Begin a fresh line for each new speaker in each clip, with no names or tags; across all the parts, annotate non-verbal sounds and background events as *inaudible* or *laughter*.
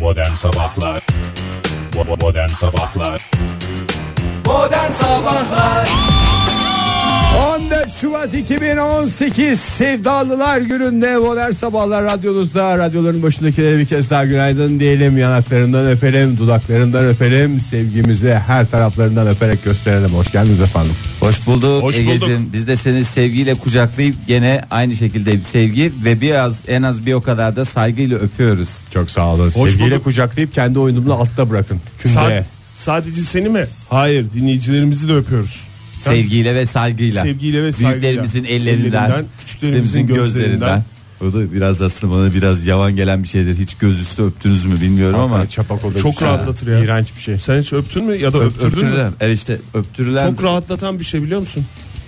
Modern Sabahlar Bo- Modern Sabahlar
Modern Sabahlar
14 Şubat 2018 Sevdalılar gününde Modern Sabahlar radyonuzda Radyoların başındakilere bir kez daha günaydın diyelim Yanaklarından öpelim dudaklarından öpelim Sevgimizi her taraflarından öperek gösterelim Hoş geldiniz efendim
Hoş bulduk
Hoş
Ege'cim.
bulduk.
Biz de seni sevgiyle kucaklayıp gene aynı şekilde bir sevgi ve biraz en az bir o kadar da saygıyla öpüyoruz.
Çok sağ olun
Hoş
Sevgiyle
bulduk.
kucaklayıp kendi oyunumla altta bırakın Künde
Sad- sadece seni mi? Hayır dinleyicilerimizi de öpüyoruz. Sen
Sevgiyle ve saygıyla.
Sevgiyle ve saygıyla.
Büyüklerimizin ellerinden,
küçüklerimizin gözlerinden.
O da biraz aslında bana biraz yavan gelen bir şeydir. Hiç göz üstü öptünüz mü bilmiyorum ama.
Ama çapak olur.
Çok
Güzel.
rahatlatır ya.
İğrenç bir şey
Sen hiç öptün mü ya da
Öp-
öptürdün mü?
öptürülen. Evet işte öptürülen.
Çok rahatlatan bir şey biliyor musun?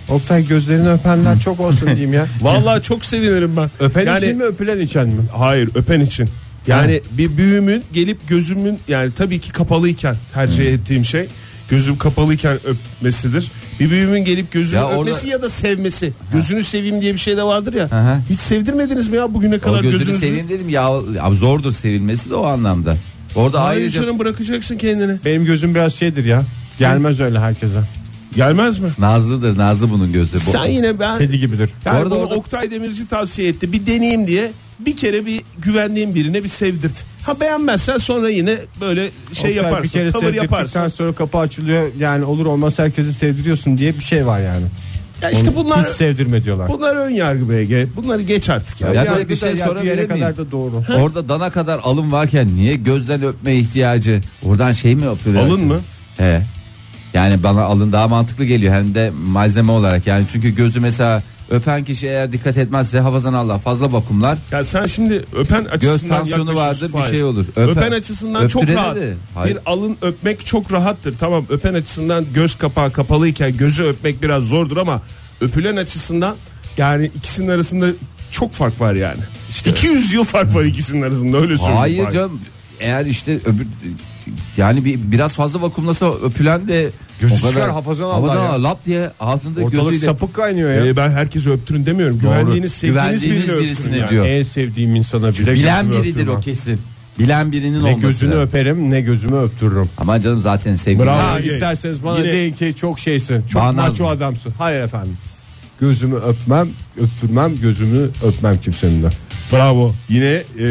Oktay gözlerini öpenler çok olsun diyeyim
*laughs*
ya
Vallahi çok sevinirim ben.
Öpen
yani,
için mi öpülen için mi?
Hayır öpen için. Yani bir büyümün gelip gözümün yani tabii ki kapalıyken tercih ettiğim şey gözüm kapalıyken öpmesidir. Bir büyümün gelip gözümü
Ya orada-
öpmesi ya da sevmesi. Gözünü seveyim diye bir şey de vardır ya.
Aha.
Hiç sevdirmediniz mi ya bugüne kadar
O gözünü
gözünüzü?
seveyim dedim ya, ya zordur sevilmesi de o anlamda. Orada
Hayır
ayrıca
canım bırakacaksın kendini.
Benim gözüm biraz şeydir ya Gelmez öyle herkese
Gelmez mi?
Nazlı'dır Nazlı bunun gözü. Bu,
Sen yine ben
Kedi gibidir
yani
Bu arada
bunu
orada-
Oktay Demirci tavsiye etti. Bir deneyeyim diye bir kere bir güvendiğim birine bir sevdirt. Ha beğenmezsen sonra yine böyle şey
Oktay,
yaparsın.
Bir kere
tavır
sevdirdikten
yaparsın.
sonra kapı açılıyor. Yani olur olmaz herkesi sevdiriyorsun diye bir şey var yani.
Ya işte bunlar
Hiç sevdirme diyorlar.
bunlar ön yargı BG. Bunları geç artık ya.
Ya
Yani
böyle bir şey sorabilir miyim?
kadar da doğru.
Orada dana kadar alın varken niye gözden öpme ihtiyacı? Oradan şey mi öpüyor?
Alın mı?
He. Yani bana alın daha mantıklı geliyor hem de malzeme olarak. Yani çünkü gözü mesela öpen kişi eğer dikkat etmezse hafazan Allah fazla bakımlar.
Ya sen şimdi öpen
Göz
açısından
tansiyonu vardır
yaklaşıyorsun.
bir şey olur.
Öpen, açısından çok
öptürene
rahat.
de- Hayır.
Bir alın öpmek çok rahattır. Tamam öpen açısından göz kapağı kapalıyken gözü öpmek biraz zordur ama öpülen açısından yani ikisinin arasında çok fark var yani. 200 yıl fark var ikisinin arasında öyle söyleyeyim.
Hayır
Fahir.
canım. Eğer işte öbür yani bir biraz fazla vakumlasa öpülen de
Gözü
o kadar-
çıkar, hafazan Allah ya.
Allah, lap diye ağzında
Ortalık
gözüyle
sapık kaynıyor ya.
Ee, ben herkesi öptürün demiyorum. Güvendiğiniz, sevdiğiniz,
Güvendiğiniz
birini öptürün
birisini
yani.
diyor.
en sevdiğim insana bile
bilen
gözümü
biridir
öptürmem.
o kesin. Bilen birinin
Ne
olması.
gözünü
lazım.
öperim ne gözümü öptürürüm.
Ama canım zaten sevgili.
Bravo.
*laughs* Ha,
isterseniz bana
yine-
deyin ki çok şeysin. Çok
Bana
maço
lazım.
adamsın. Hayır efendim. Gözümü öpmem, öptürmem, gözümü öpmem kimsenin de.
Bravo. Yine e,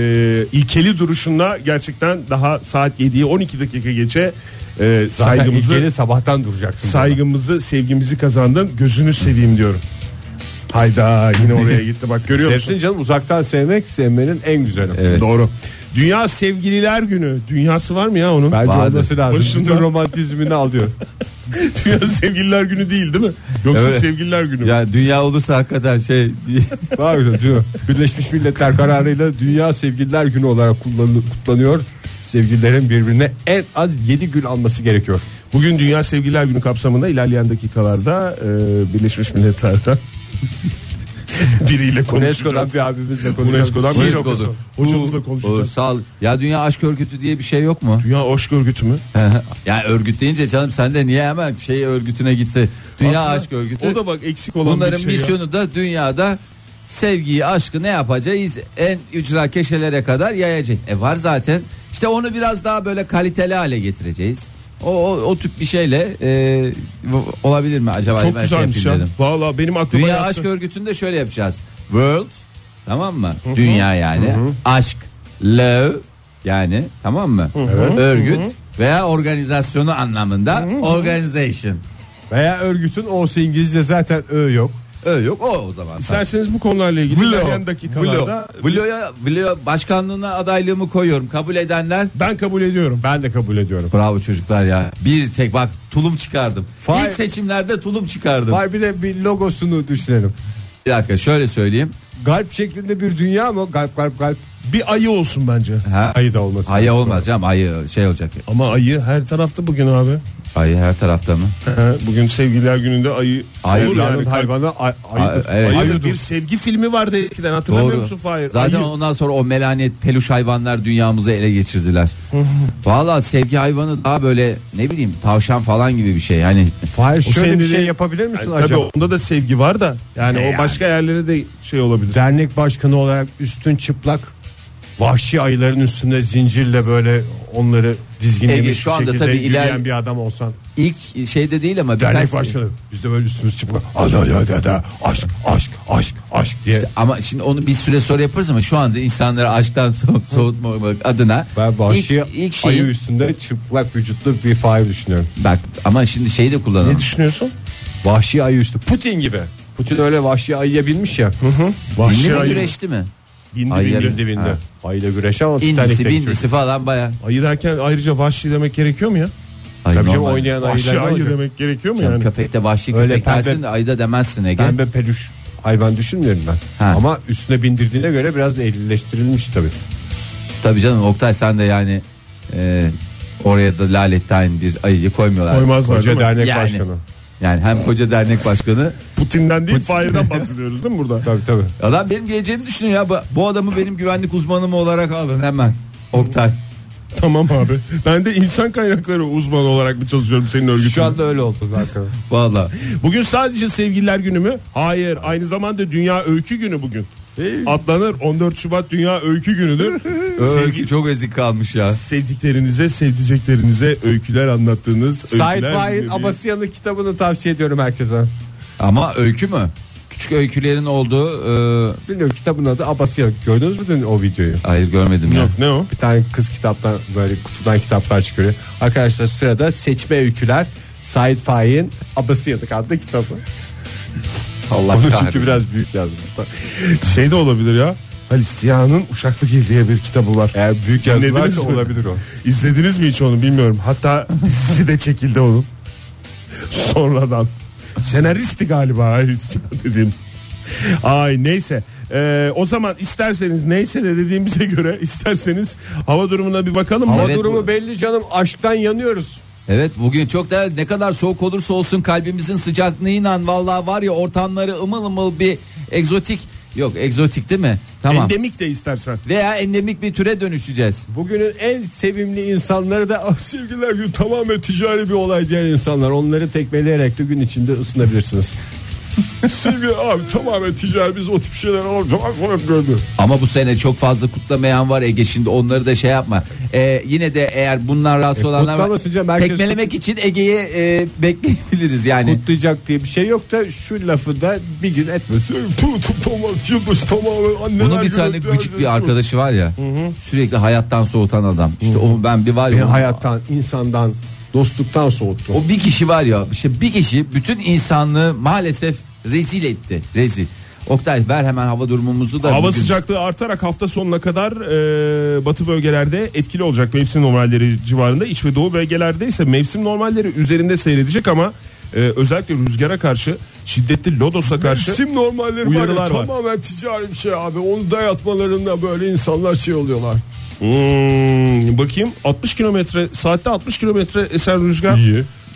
ilkeli duruşunda gerçekten daha saat 7'ye 12 dakika geçe e,
Zaten
saygımızı
ilkeli sabahtan duracaksın.
saygımızı, sevgimizi kazandın. Gözünü seveyim diyorum. Hayda yine oraya gitti bak görüyor musun?
Sevsin canım uzaktan sevmek sevmenin en güzeli.
*laughs* Evet.
Doğru. Dünya Sevgililer Günü. Dünyası var mı ya onun?
Bence
Vardır.
olması lazım.
Barış'ın
Bütün
da-
romantizmini alıyor.
*laughs* Dünya Sevgililer Günü değil değil mi? Yoksa
Evet.
Sevgililer Günü. mü?
Ya dünya olursa hakikaten şey
Daha güzel diyor. Birleşmiş Milletler kararıyla Dünya Sevgililer Günü olarak kullanı- kutlanıyor. Sevgililerin birbirine en az 7 gün alması gerekiyor.
Bugün Dünya Sevgililer Günü kapsamında ilerleyen dakikalarda e, Birleşmiş Milletler'den *laughs* biriyle
UNESCO'dan
konuşacağız.
bir abimizle konuşacağız.
UNESCO'dan bir
Şiir
hocamızla-
okudu.
hocamızla
o,
konuşacağız.
sal. Ya dünya aşk örgütü diye bir şey yok mu? *laughs*
Dünya Aşk Örgütü mü?
yani örgüt deyince canım sen de niye hemen şey örgütüne gitti? Dünya
Aslında
aşk örgütü.
O da bak eksik olan
Bunların
bir şey. ya.
misyonu da dünyada sevgiyi, aşkı ne yapacağız? En ücra keşelere kadar yayacağız. E var zaten. İşte onu biraz daha böyle kaliteli hale getireceğiz. O, o, o tip bir şeyle e, bu- olabilir mi acaba?
Çok
Ben şey
güzelmiş ya.
yapayım dedim.
Valla benim aklıma
Dünya
yattı.
Aşk Örgütü'nde şöyle yapacağız. World tamam mı? Dünya yani. Aşk, love yani tamam mı? Örgüt veya organizasyonu anlamında organization.
Veya örgütün olsa İngilizce zaten Ö yok.
Ö yok o o zaman.
İsterseniz bu konularla ilgili
Vlo,
ilerleyen dakikalarda
Vlo. Vlo'ya Vlo başkanlığına adaylığımı koyuyorum. Kabul edenler
ben kabul ediyorum.
Ben de kabul ediyorum.
Bravo çocuklar ya. Bir tek bak tulum çıkardım.
Fay-
İlk seçimlerde tulum çıkardım.
Var bir de bir logosunu düşünelim.
Bir dakika şöyle söyleyeyim.
Galp şeklinde bir dünya mı? Galp galp galp.
Bir ayı olsun bence.
Ha,
Ayı da olmasın.
ayı olmaz canım ayı şey olacak.
Ama ayı her tarafta bugün abi.
Ayı her tarafta mı?
He, bugün sevgililer gününde ayı
Ayı
olur
Dünyanın
yani.
hayvanı ay, ayıdır.
Ay- evet.
Ayı da
Ayıdır.
bir sevgi filmi vardı eskiden hatırlamıyor musun Fahir?
Zaten
Ayı.
ondan sonra o melanet peluş hayvanlar dünyamızı ele
*laughs*
geçirdiler. Vallahi sevgi hayvanı daha böyle ne bileyim tavşan falan gibi bir şey. Yani
Fahir şöyle
senin
bir şey
dediğin-
yapabilir misin
Yani tabii
acaba?
onda da sevgi var da yani o başka yerlere de şey olabilir.
Dernek başkanı olarak üstün çıplak vahşi ayıların üstünde zincirle böyle onları dizginlemiş
Ege, şu anda
şekilde
tabii
yürüyen
iler-
bir adam olsan
İlk şeyde değil ama
dernek
birkaç-
başkanı biz de böyle üstümüz çıplak ada ada ada aşk aşk aşk aşk diye
İşte ama şimdi onu bir süre sonra yaparız ama şu anda insanları aşktan *laughs* so- soğutmamak adına
ben vahşi
ilk, ilk şeyi-
ayı üstünde çıplak vücutlu bir fail düşünüyorum
bak ama şimdi şeyi de kullanalım.
Ne düşünüyorsun?
vahşi ayı üstü Putin gibi Putin öyle vahşi ayıya binmiş ya
Bindi
vahşi
mi
ayı
güreşti mi?
Bindi
Ay,
bindi.
yarın.
bindi bindi
Ha.
ayıyla güreşen ama
İndisi
Titanik'teki
bindisi
çocuk
falan baya.
Ayı derken ayrıca vahşi demek gerekiyor mu ya?
Ay,
tabii canım
normal.
oynayan
Vahşi
ayılar ne
ayı
olacak?
demek gerekiyor mu
Canım,
yani?
Köpekte vahşi
Öyle
köpek
pembe-
dersin de ayıda demezsin Ege.
Pembe peluş hayvan düşünmüyorum ben.
Ha.
Ama üstüne bindirdiğine göre biraz da elleştirilmiş tabii.
Tabii canım Oktay sen de yani e, oraya da lalettayn bir ayıyı koymuyorlar.
Koymazlar
Koca
değil mi?
dernek
Yani.
başkanı.
Yani hem koca dernek başkanı
Putin'den değil Fahir'den bahsediyoruz değil mi burada?
Tabii tabii.
adam benim geleceğimi düşünüyor ya. Bu, bu adamı benim güvenlik uzmanım olarak alın hemen Oktay.
tamam abi. Ben de insan kaynakları uzmanı olarak mı çalışıyorum senin örgütünde?
Şu anda öyle oldu
*laughs*
zaten.
Valla
Bugün sadece sevgililer günü mü? Hayır. Aynı zamanda Dünya Öykü Günü bugün. Atlanır 14 Şubat Dünya Öykü Günü'dür. Sevgi,
çok ezik kalmış ya.
sevdiklerinize, sevdiceklerinize öyküler anlattığınız
Said
öyküler
Fahin
günü.
Abasıyan'ın kitabını tavsiye ediyorum herkese.
Ama öykü mü? Küçük öykülerin olduğu e,
Bilmiyorum kitabın adı Abasıyan. Gördünüz mü dün o videoyu?
hayır görmedim ya.
Yok ne o?
Bir tane kız kitaptan böyle kutudan kitaplar çıkıyor. Arkadaşlar sırada seçme öyküler. Said Fahin Abasıyan'ın adlı kitabı.
Allah
Onu
kahretsin.
çünkü biraz büyük yazmışlar.
Şey de olabilir ya. Halis Ziya'nın Uşaklı Gil diye bir kitabı var.
Eğer büyük yazılarsa
Dinlediniz mi?
olabilir o.
İzlediniz mi hiç onu bilmiyorum. Hatta dizisi de çekildi onun. Sonradan. Senaristi galiba Halit Ziya *laughs* dediğim. Ay neyse. Ee, o zaman isterseniz neyse de dediğimize göre isterseniz hava durumuna bir bakalım mı?
Ama
Evet,
durumu
bu-
belli canım. Aşktan yanıyoruz.
Evet bugün çok değerli ne kadar soğuk olursa olsun kalbimizin sıcaklığıyla vallahi var ya ortamları ımıl ımıl bir egzotik yok egzotik değil mi? Tamam.
Endemik de istersen.
Veya endemik bir türe dönüşeceğiz.
Bugünün en sevimli insanları da ah sevgiler günü tamamen ticari bir olay diyen insanlar. Onları tekmeleyerek de gün içinde ısınabilirsiniz.
*laughs* Sevgili abi tamamen ticari biz o tip şeyler olacak falan gördü.
Ama bu sene çok fazla kutlamayan var Ege şimdi onları da şey yapma. Ee, yine de eğer bundan rahatsız
E,
olanlar var,
kutlamasın canım, herkes-
tekmelemek için Ege'yi e, bekleyebiliriz yani.
Kutlayacak diye bir şey yok da şu lafı da bir gün etmesin.
Yılbaşı tamamen anneler
Bunun bir
günü,
tane
diğer
gıcık
günü.
bir arkadaşı var ya. Sürekli hayattan soğutan adam. İşte o ben bir var
Beni
ya. onun-
hayattan, insandan, dostluktan soğuttu.
O bir kişi var ya işte bir kişi bütün insanlığı maalesef rezil etti. Rezil. Oktay ver hemen hava durumumuzu da.
Hava
bugün-
sıcaklığı artarak hafta sonuna kadar e, batı bölgelerde etkili olacak mevsim normalleri civarında. İç ve doğu bölgelerde ise mevsim normalleri üzerinde seyredecek ama e, özellikle rüzgara karşı şiddetli lodosa karşı
Sim normalleri
uyarılar var.
tamamen ticari bir şey abi. Onu dayatmalarında böyle insanlar şey oluyorlar.
Hmm, bakayım 60 kilometre saatte 60 kilometre eser rüzgar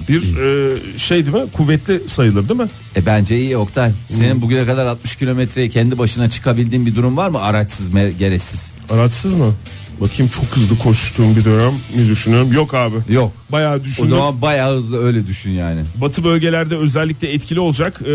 bir e, şey değil mi kuvvetli sayılır değil mi?
E bence iyi Oktay. Senin bugüne kadar 60 kilometreye kendi başına çıkabildiğin bir durum var mı? Araçsız me- gereksiz.
Araçsız mı? Bakayım çok hızlı koştuğum bir dönem mi düşünüyorum? Yok abi.
Yok.
Bayağı
O
düşündüm.
zaman bayağı hızlı öyle düşün yani.
Batı bölgelerde özellikle etkili olacak. Ee,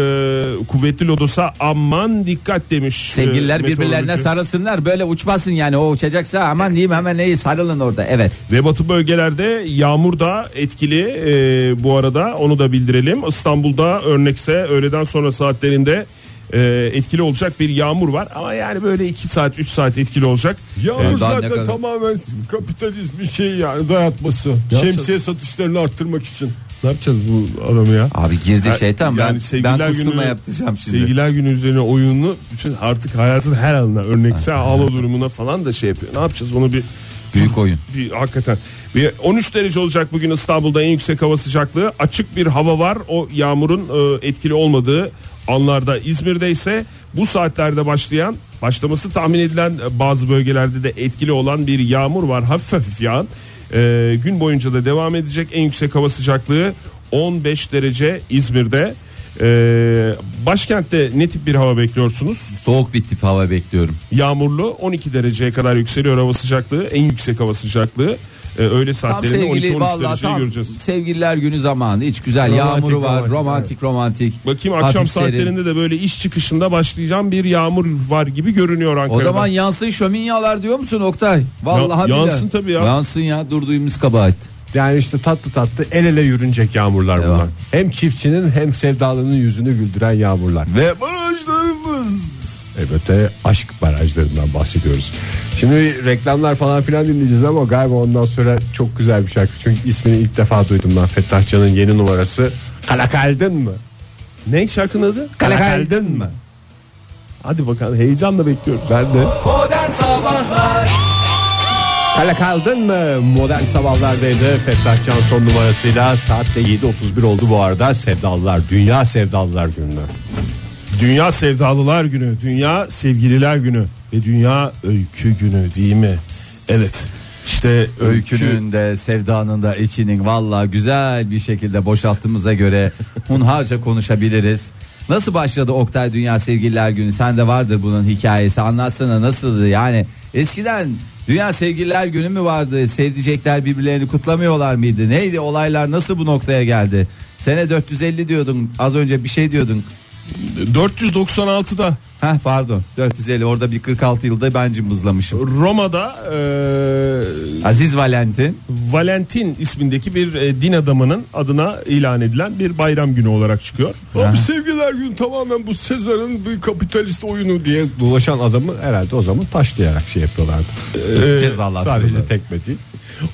kuvvetli lodosa aman dikkat demiş.
Sevgililer
e,
birbirlerine
meteoroloji.
sarılsınlar böyle uçmasın yani o uçacaksa aman diyeyim hemen neyi sarılın orada evet.
Ve batı bölgelerde yağmur da etkili Ee, bu arada onu da bildirelim. İstanbul'da örnekse öğleden sonra saatlerinde e, etkili olacak bir yağmur var. Ama yani böyle 2 saat 3 saat etkili olacak.
Yağmur
Yani daha ne
zaten
kadar-
tamamen kapitalizm bir şey yani dayatması. Şemsiye satışlarını arttırmak için.
Ne yapacağız bu adamı ya?
Abi girdi
Ya-
şeytan
yani
ben,
sevgililer
ben kusturma
günü-
yaptıracağım şimdi.
Sevgiler günü üzerine oyununu bütün artık hayatın her alanına örnekse hava durumuna falan da şey yapıyor. Ne yapacağız onu bir
Büyük oyun.
bir hakikaten. Bir 13 derece olacak bugün İstanbul'da en yüksek hava sıcaklığı. Açık bir hava var. O yağmurun e, etkili olmadığı anlarda İzmir'de ise bu saatlerde başlayan başlaması tahmin edilen e, bazı bölgelerde de etkili olan bir yağmur var. Hafif hafif yağan. E, gün boyunca da devam edecek en yüksek hava sıcaklığı 15 derece İzmir'de. E, Ee, başkentte ne tip bir hava bekliyorsunuz?
Soğuk bir tip hava bekliyorum.
Yağmurlu 12 dereceye kadar yükseliyor hava sıcaklığı. En yüksek hava sıcaklığı ee, öğle
Tam
saatlerinde 12-13
sevgili vallahi
dereceyi
tam
şey göreceğiz.
sevgililer günü zamanı. Hiç güzel
Romantik,
yağmuru var.
romantik,
Romantik romantik.
Bakayım
Hafif
akşam
serin.
saatlerinde de böyle iş çıkışında başlayacağım bir yağmur var gibi görünüyor
O
Ankara'da.
zaman yansın şöminyalar diyor musun Oktay? Vallahi
Ya-
billahi.
yansın tabii ya.
Yansın ya durduğumuz kabahat.
Yani işte tatlı tatlı el ele yürünecek yağmurlar
Devam.
bunlar. Hem çiftçinin hem sevdalının yüzünü güldüren yağmurlar.
Ve barajlarımız.
Elbette aşk barajlarından bahsediyoruz. Şimdi reklamlar falan filan dinleyeceğiz ama galiba ondan sonra çok güzel bir şarkı. Çünkü ismini ilk defa duydum ben Fettah Can'ın yeni numarası. Kalakaldın mı?
Ne şarkının adı?
Kalakaldın mı?
Hadi bakalım heyecanla bekliyoruz.
Ben de
Modern sabahlar.
Kalakaldın mı? Modern sabahlardaydı. Fettah Can son numarasıyla saatte 7.31 oldu bu arada. Sevdalılar, Dünya Sevdalılar Günü.
Dünya Sevdalılar Günü, Dünya Sevgililer Günü ve Dünya Öykü Günü değil mi? Evet. İşte öykünün
Öykünün de sevdanın da içinin valla güzel bir şekilde boşalttığımıza *laughs* göre hunharca konuşabiliriz. Nasıl başladı Oktay Dünya Sevgililer Günü? Sende vardır bunun hikayesi. Anlatsana nasıldı? Yani eskiden Dünya Sevgililer Günü mü vardı? Sevdicekler birbirlerini kutlamıyorlar mıydı? Neydi olaylar nasıl bu noktaya geldi? Sene 450 diyordun. Az önce bir şey diyordun.
496'da
Heh pardon 450 orada bir 46 yılda ben cımbızlamışım.
Roma'da eee
Aziz Valentin
Valentin ismindeki bir e, din adamının adına ilan edilen bir bayram günü olarak çıkıyor.
Abi sevgiler gün tamamen bu Sezar'ın bir kapitalist oyunu diye dolaşan adamı herhalde o zaman taşlayarak şey yapıyorlardı.
Ee,
cezalandırıldı.
Ee, Sadece tekme değil.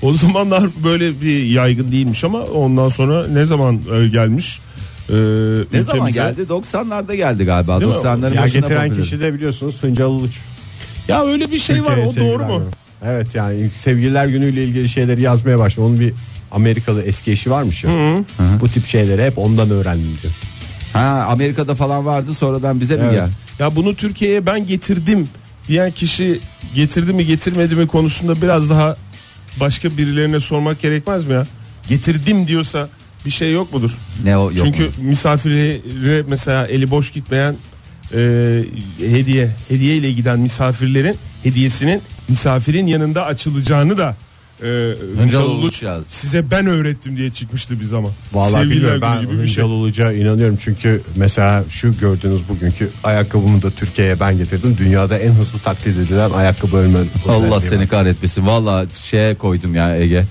O zamanlar böyle bir yaygın değilmiş ama ondan sonra ne zaman e, gelmiş? e,
Ne zaman
ülkemize?
geldi? 90'larda geldi galiba.
Değil mi?
90'ların
Ya
başında
getiren
popüler.
kişi de biliyorsunuz Hıncal Uluç.
Ya öyle bir şey var
Türkiye'ye
o doğru
sevgiler
mu?
günü. Evet yani sevgililer günüyle ilgili şeyleri yazmaya başladı. Onun bir Amerikalı eski eşi varmış ya. Bu tip şeyleri hep ondan öğrendim diyor.
Ha Amerika'da falan vardı sonradan bize mi
Evet.
geldi?
Ya bunu Türkiye'ye ben getirdim diyen kişi getirdi mi getirmedi mi konusunda biraz daha başka birilerine sormak gerekmez mi ya? Getirdim diyorsa bir şey yok mudur?
Ne o yok.
Çünkü
mu?
misafirlere mesela eli boş gitmeyen e, hediye hediye ile giden misafirlerin hediyesinin misafirin yanında açılacağını da e, Hıncal
Uluç
Uluç
yazdı.
size ben öğrettim diye çıkmıştı bir zaman.
Vallahi
Sevgililer
bilmiyorum
günü
ben
gibi bir şey.
Hıncal Uluç'a inanıyorum çünkü mesela şu gördüğünüz bugünkü ayakkabımı da Türkiye'ye ben getirdim. Dünyada en hızlı taklit edilen ayakkabı örmen.
Allah seni kahretmesin. Valla şeye koydum ya Ege.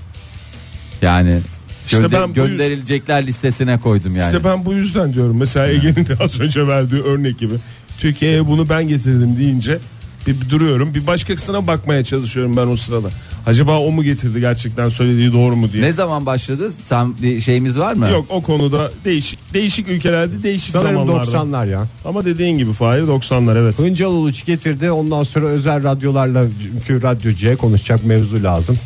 Yani
İşte
gönder-
ben bu-
gönderilecekler listesine koydum yani.
İşte ben bu yüzden diyorum. Mesela Ege'nin de az önce verdiği örnek gibi. Türkiye'ye bunu ben getirdim deyince bir, bir duruyorum. Bir başkasına bakmaya çalışıyorum ben o sırada. Acaba o mu getirdi gerçekten söylediği doğru mu diye.
Ne zaman başladı? Tam bir şeyimiz var mı?
Yok o konuda değişik değişik ülkelerde değişik
Sanırım
zamanlarda.
90'lar ya.
Ama dediğin gibi Fahir 90'lar evet.
Hıncal Uluç getirdi ondan sonra özel radyolarla çünkü radyocuya konuşacak mevzu lazım.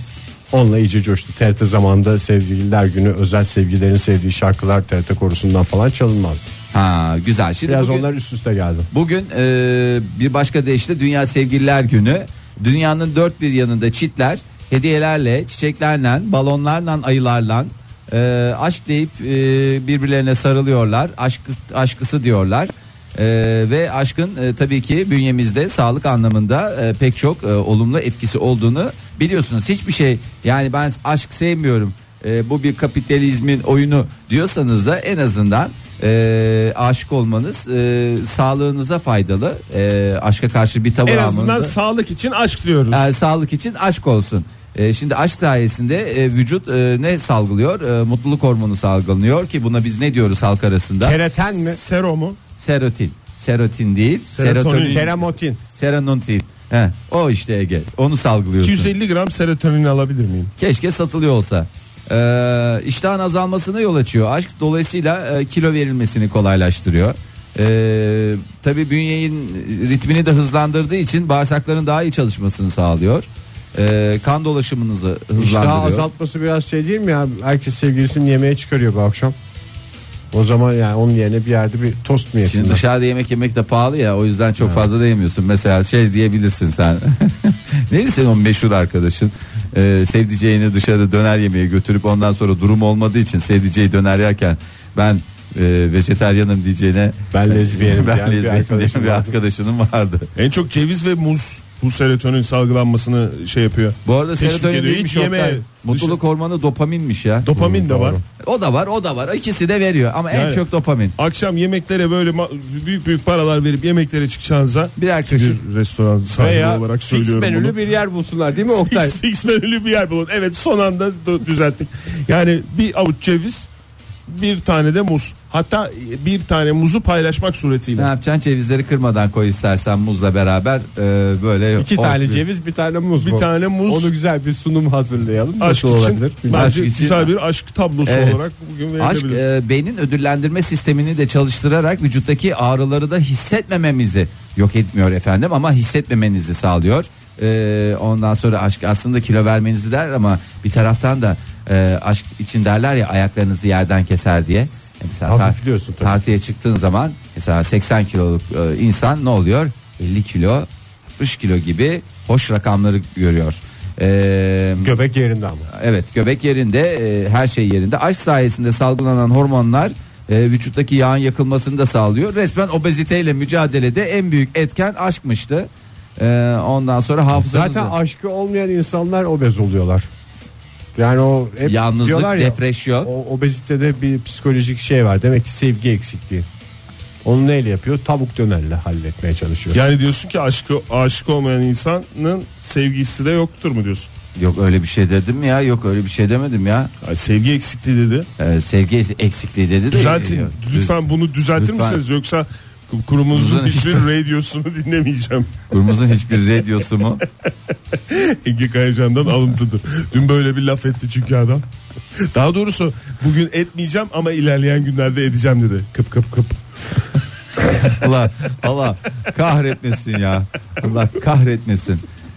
Onunla iyice coştu. TRT zamanında sevgililer günü özel sevgilerin sevdiği şarkılar TRT korusundan falan çalınmazdı.
Ha güzel. Şimdi
Biraz
bugün-
onlar üst üste geldi.
Bugün e, bir başka deyişle Dünya Sevgililer Günü. Dünyanın dört bir yanında çitler hediyelerle, çiçeklerle, balonlarla, ayılarla e, aşk deyip e, birbirlerine sarılıyorlar. Aşk, aşkısı diyorlar. E, ve aşkın e, tabii ki bünyemizde sağlık anlamında e, pek çok e, olumlu etkisi olduğunu biliyorsunuz. Hiçbir şey yani ben aşk sevmiyorum. e, bu bir kapitalizmin oyunu diyorsanız da en azından e, aşık olmanız e, sağlığınıza faydalı. E, aşka karşı bir tavır
En azından
almanız.
sağlık için aşk diyoruz.
da- E, sağlık için aşk olsun. E, şimdi aşk sayesinde e, vücut e, ne salgılıyor? E, mutluluk hormonu salgılanıyor ki buna biz ne diyoruz halk arasında?
Kereten mi?
Seromu.
serotin. Serotin değil.
Serotonin.
Serotonin.
Keremotin.
Seronotin. He, o işte Ege. Onu salgılıyorsun.
250 gram serotonin alabilir miyim?
Keşke satılıyor olsa. Ee, iştahın azalmasına yol açıyor. Aşk dolayısıyla e, kilo verilmesini kolaylaştırıyor. Ee, tabii bünyenin ritmini de hızlandırdığı için bağırsakların daha iyi çalışmasını sağlıyor. Ee, kan dolaşımınızı
İştahı
hızlandırıyor.
azaltması biraz şey değil mi ya? Herkes sevgilisini yemeğe çıkarıyor bu akşam. O zaman yani onun yerine bir yerde bir tost mu
Şimdi
yesinler?
dışarıda yemek yemek de pahalı ya o yüzden çok fazla da yemiyorsun. Mesela şey diyebilirsin sen. *laughs* Neydi senin o meşhur arkadaşın? Ee, sevdiceğini dışarı döner yemeğe götürüp ondan sonra durum olmadığı için sevdiceği döner yerken ben e, vejetaryanım diyeceğine
Ben
*laughs*
lezbiyenim
ben
diyen bir
lezbiyenim diyen
arkadaşım
bir
vardı.
arkadaşının vardı.
En çok ceviz ve muz bu serotonin salgılanmasını şey yapıyor.
Bu arada
Teşvik
serotonin
ediyor,
değilmiş
hiç yeme.
Oktay. Mutluluk hormonu dopaminmiş ya.
Dopamin de
doğru.
var.
o da var o da var ikisi de veriyor ama en
Yani-
çok dopamin.
Akşam yemeklere böyle ma- büyük büyük paralar verip yemeklere çıkacağınıza
Birer kaşık.
bir restoran sahibi
Veya
olarak
fix
söylüyorum bunu.
menülü bir yer bulsunlar değil mi Oktay?
Fix, fix menülü bir yer bulun. Evet son anda dö- düzelttik. Yani bir avuç ceviz bir tane de muz. Hatta e, bir tane muzu paylaşmak
Ne
suretiyle.
yapacaksın cevizleri kırmadan koy istersen muzla beraber e, böyle.
İki
hoş
tane
bir-
ceviz bir tane muz
Bir
mu?
tane muz
Onu güzel bir sunum hazırlayalım.
aşk
Nasıl
için.
olabilir?
Bence
Aşk için-
güzel bir aşk tablosu
Evet.
olarak bugün
Aşk
verilebilir.
e, beynin ödüllendirme sistemini de çalıştırarak vücuttaki ağrıları da hissetmememizi yok etmiyor efendim ama hissetmemenizi sağlıyor. E, ondan sonra aşk aslında kilo vermenizi der ama bir taraftan da e, aşk için derler ya ayaklarınızı yerden keser diye. E, Mesela tar-
Hafifliyorsun tabii.
tartıya çıktığın zaman mesela 80 kiloluk e, insan ne oluyor? 50 kilo 60 kilo gibi hoş rakamları görüyor. E,
Göbek yerinde ama.
Evet göbek yerinde e, her şey yerinde. Aşk sayesinde salgılanan hormonlar e, vücuttaki yağın yakılmasını da sağlıyor. Resmen obeziteyle mücadelede en büyük etken aşkmıştı. E, ondan sonra hafızamız
Zaten
Zaten
aşkı olmayan insanlar obez oluyorlar. Yani o hep
yalnızlık,
diyorlar ya,
depresyon.
O obezitede bir psikolojik şey var. Demek ki sevgi eksikliği. Onu neyle yapıyor? Tavuk dönerle halletmeye
e-
çalışıyor.
Yani diyorsun ki aşkı aşık olmayan insanın sevgisi de yoktur mu diyorsun?
Yok öyle bir şey dedim ya. Yok öyle bir şey demedim ya.
Ay, sevgi eksikliği dedi.
E, sevgi eksikliği dedi de. E,
Düzeltin.
Yok.
Lütfen bunu düzeltir
Lütfen.
misiniz? Yoksa kurumunuzun
Kurumuzun
hiçbir radyosunu *laughs* dinlemeyeceğim.
Kurumuzun hiçbir radyosu mu?
Ege Kayacan'dan alıntıdır. Dün böyle bir laf etti çünkü adam. Daha doğrusu bugün etmeyeceğim ama ilerleyen günlerde edeceğim dedi. Kıp kıp kıp.
Allah Allah kahretmesin ya. Allah kahretmesin.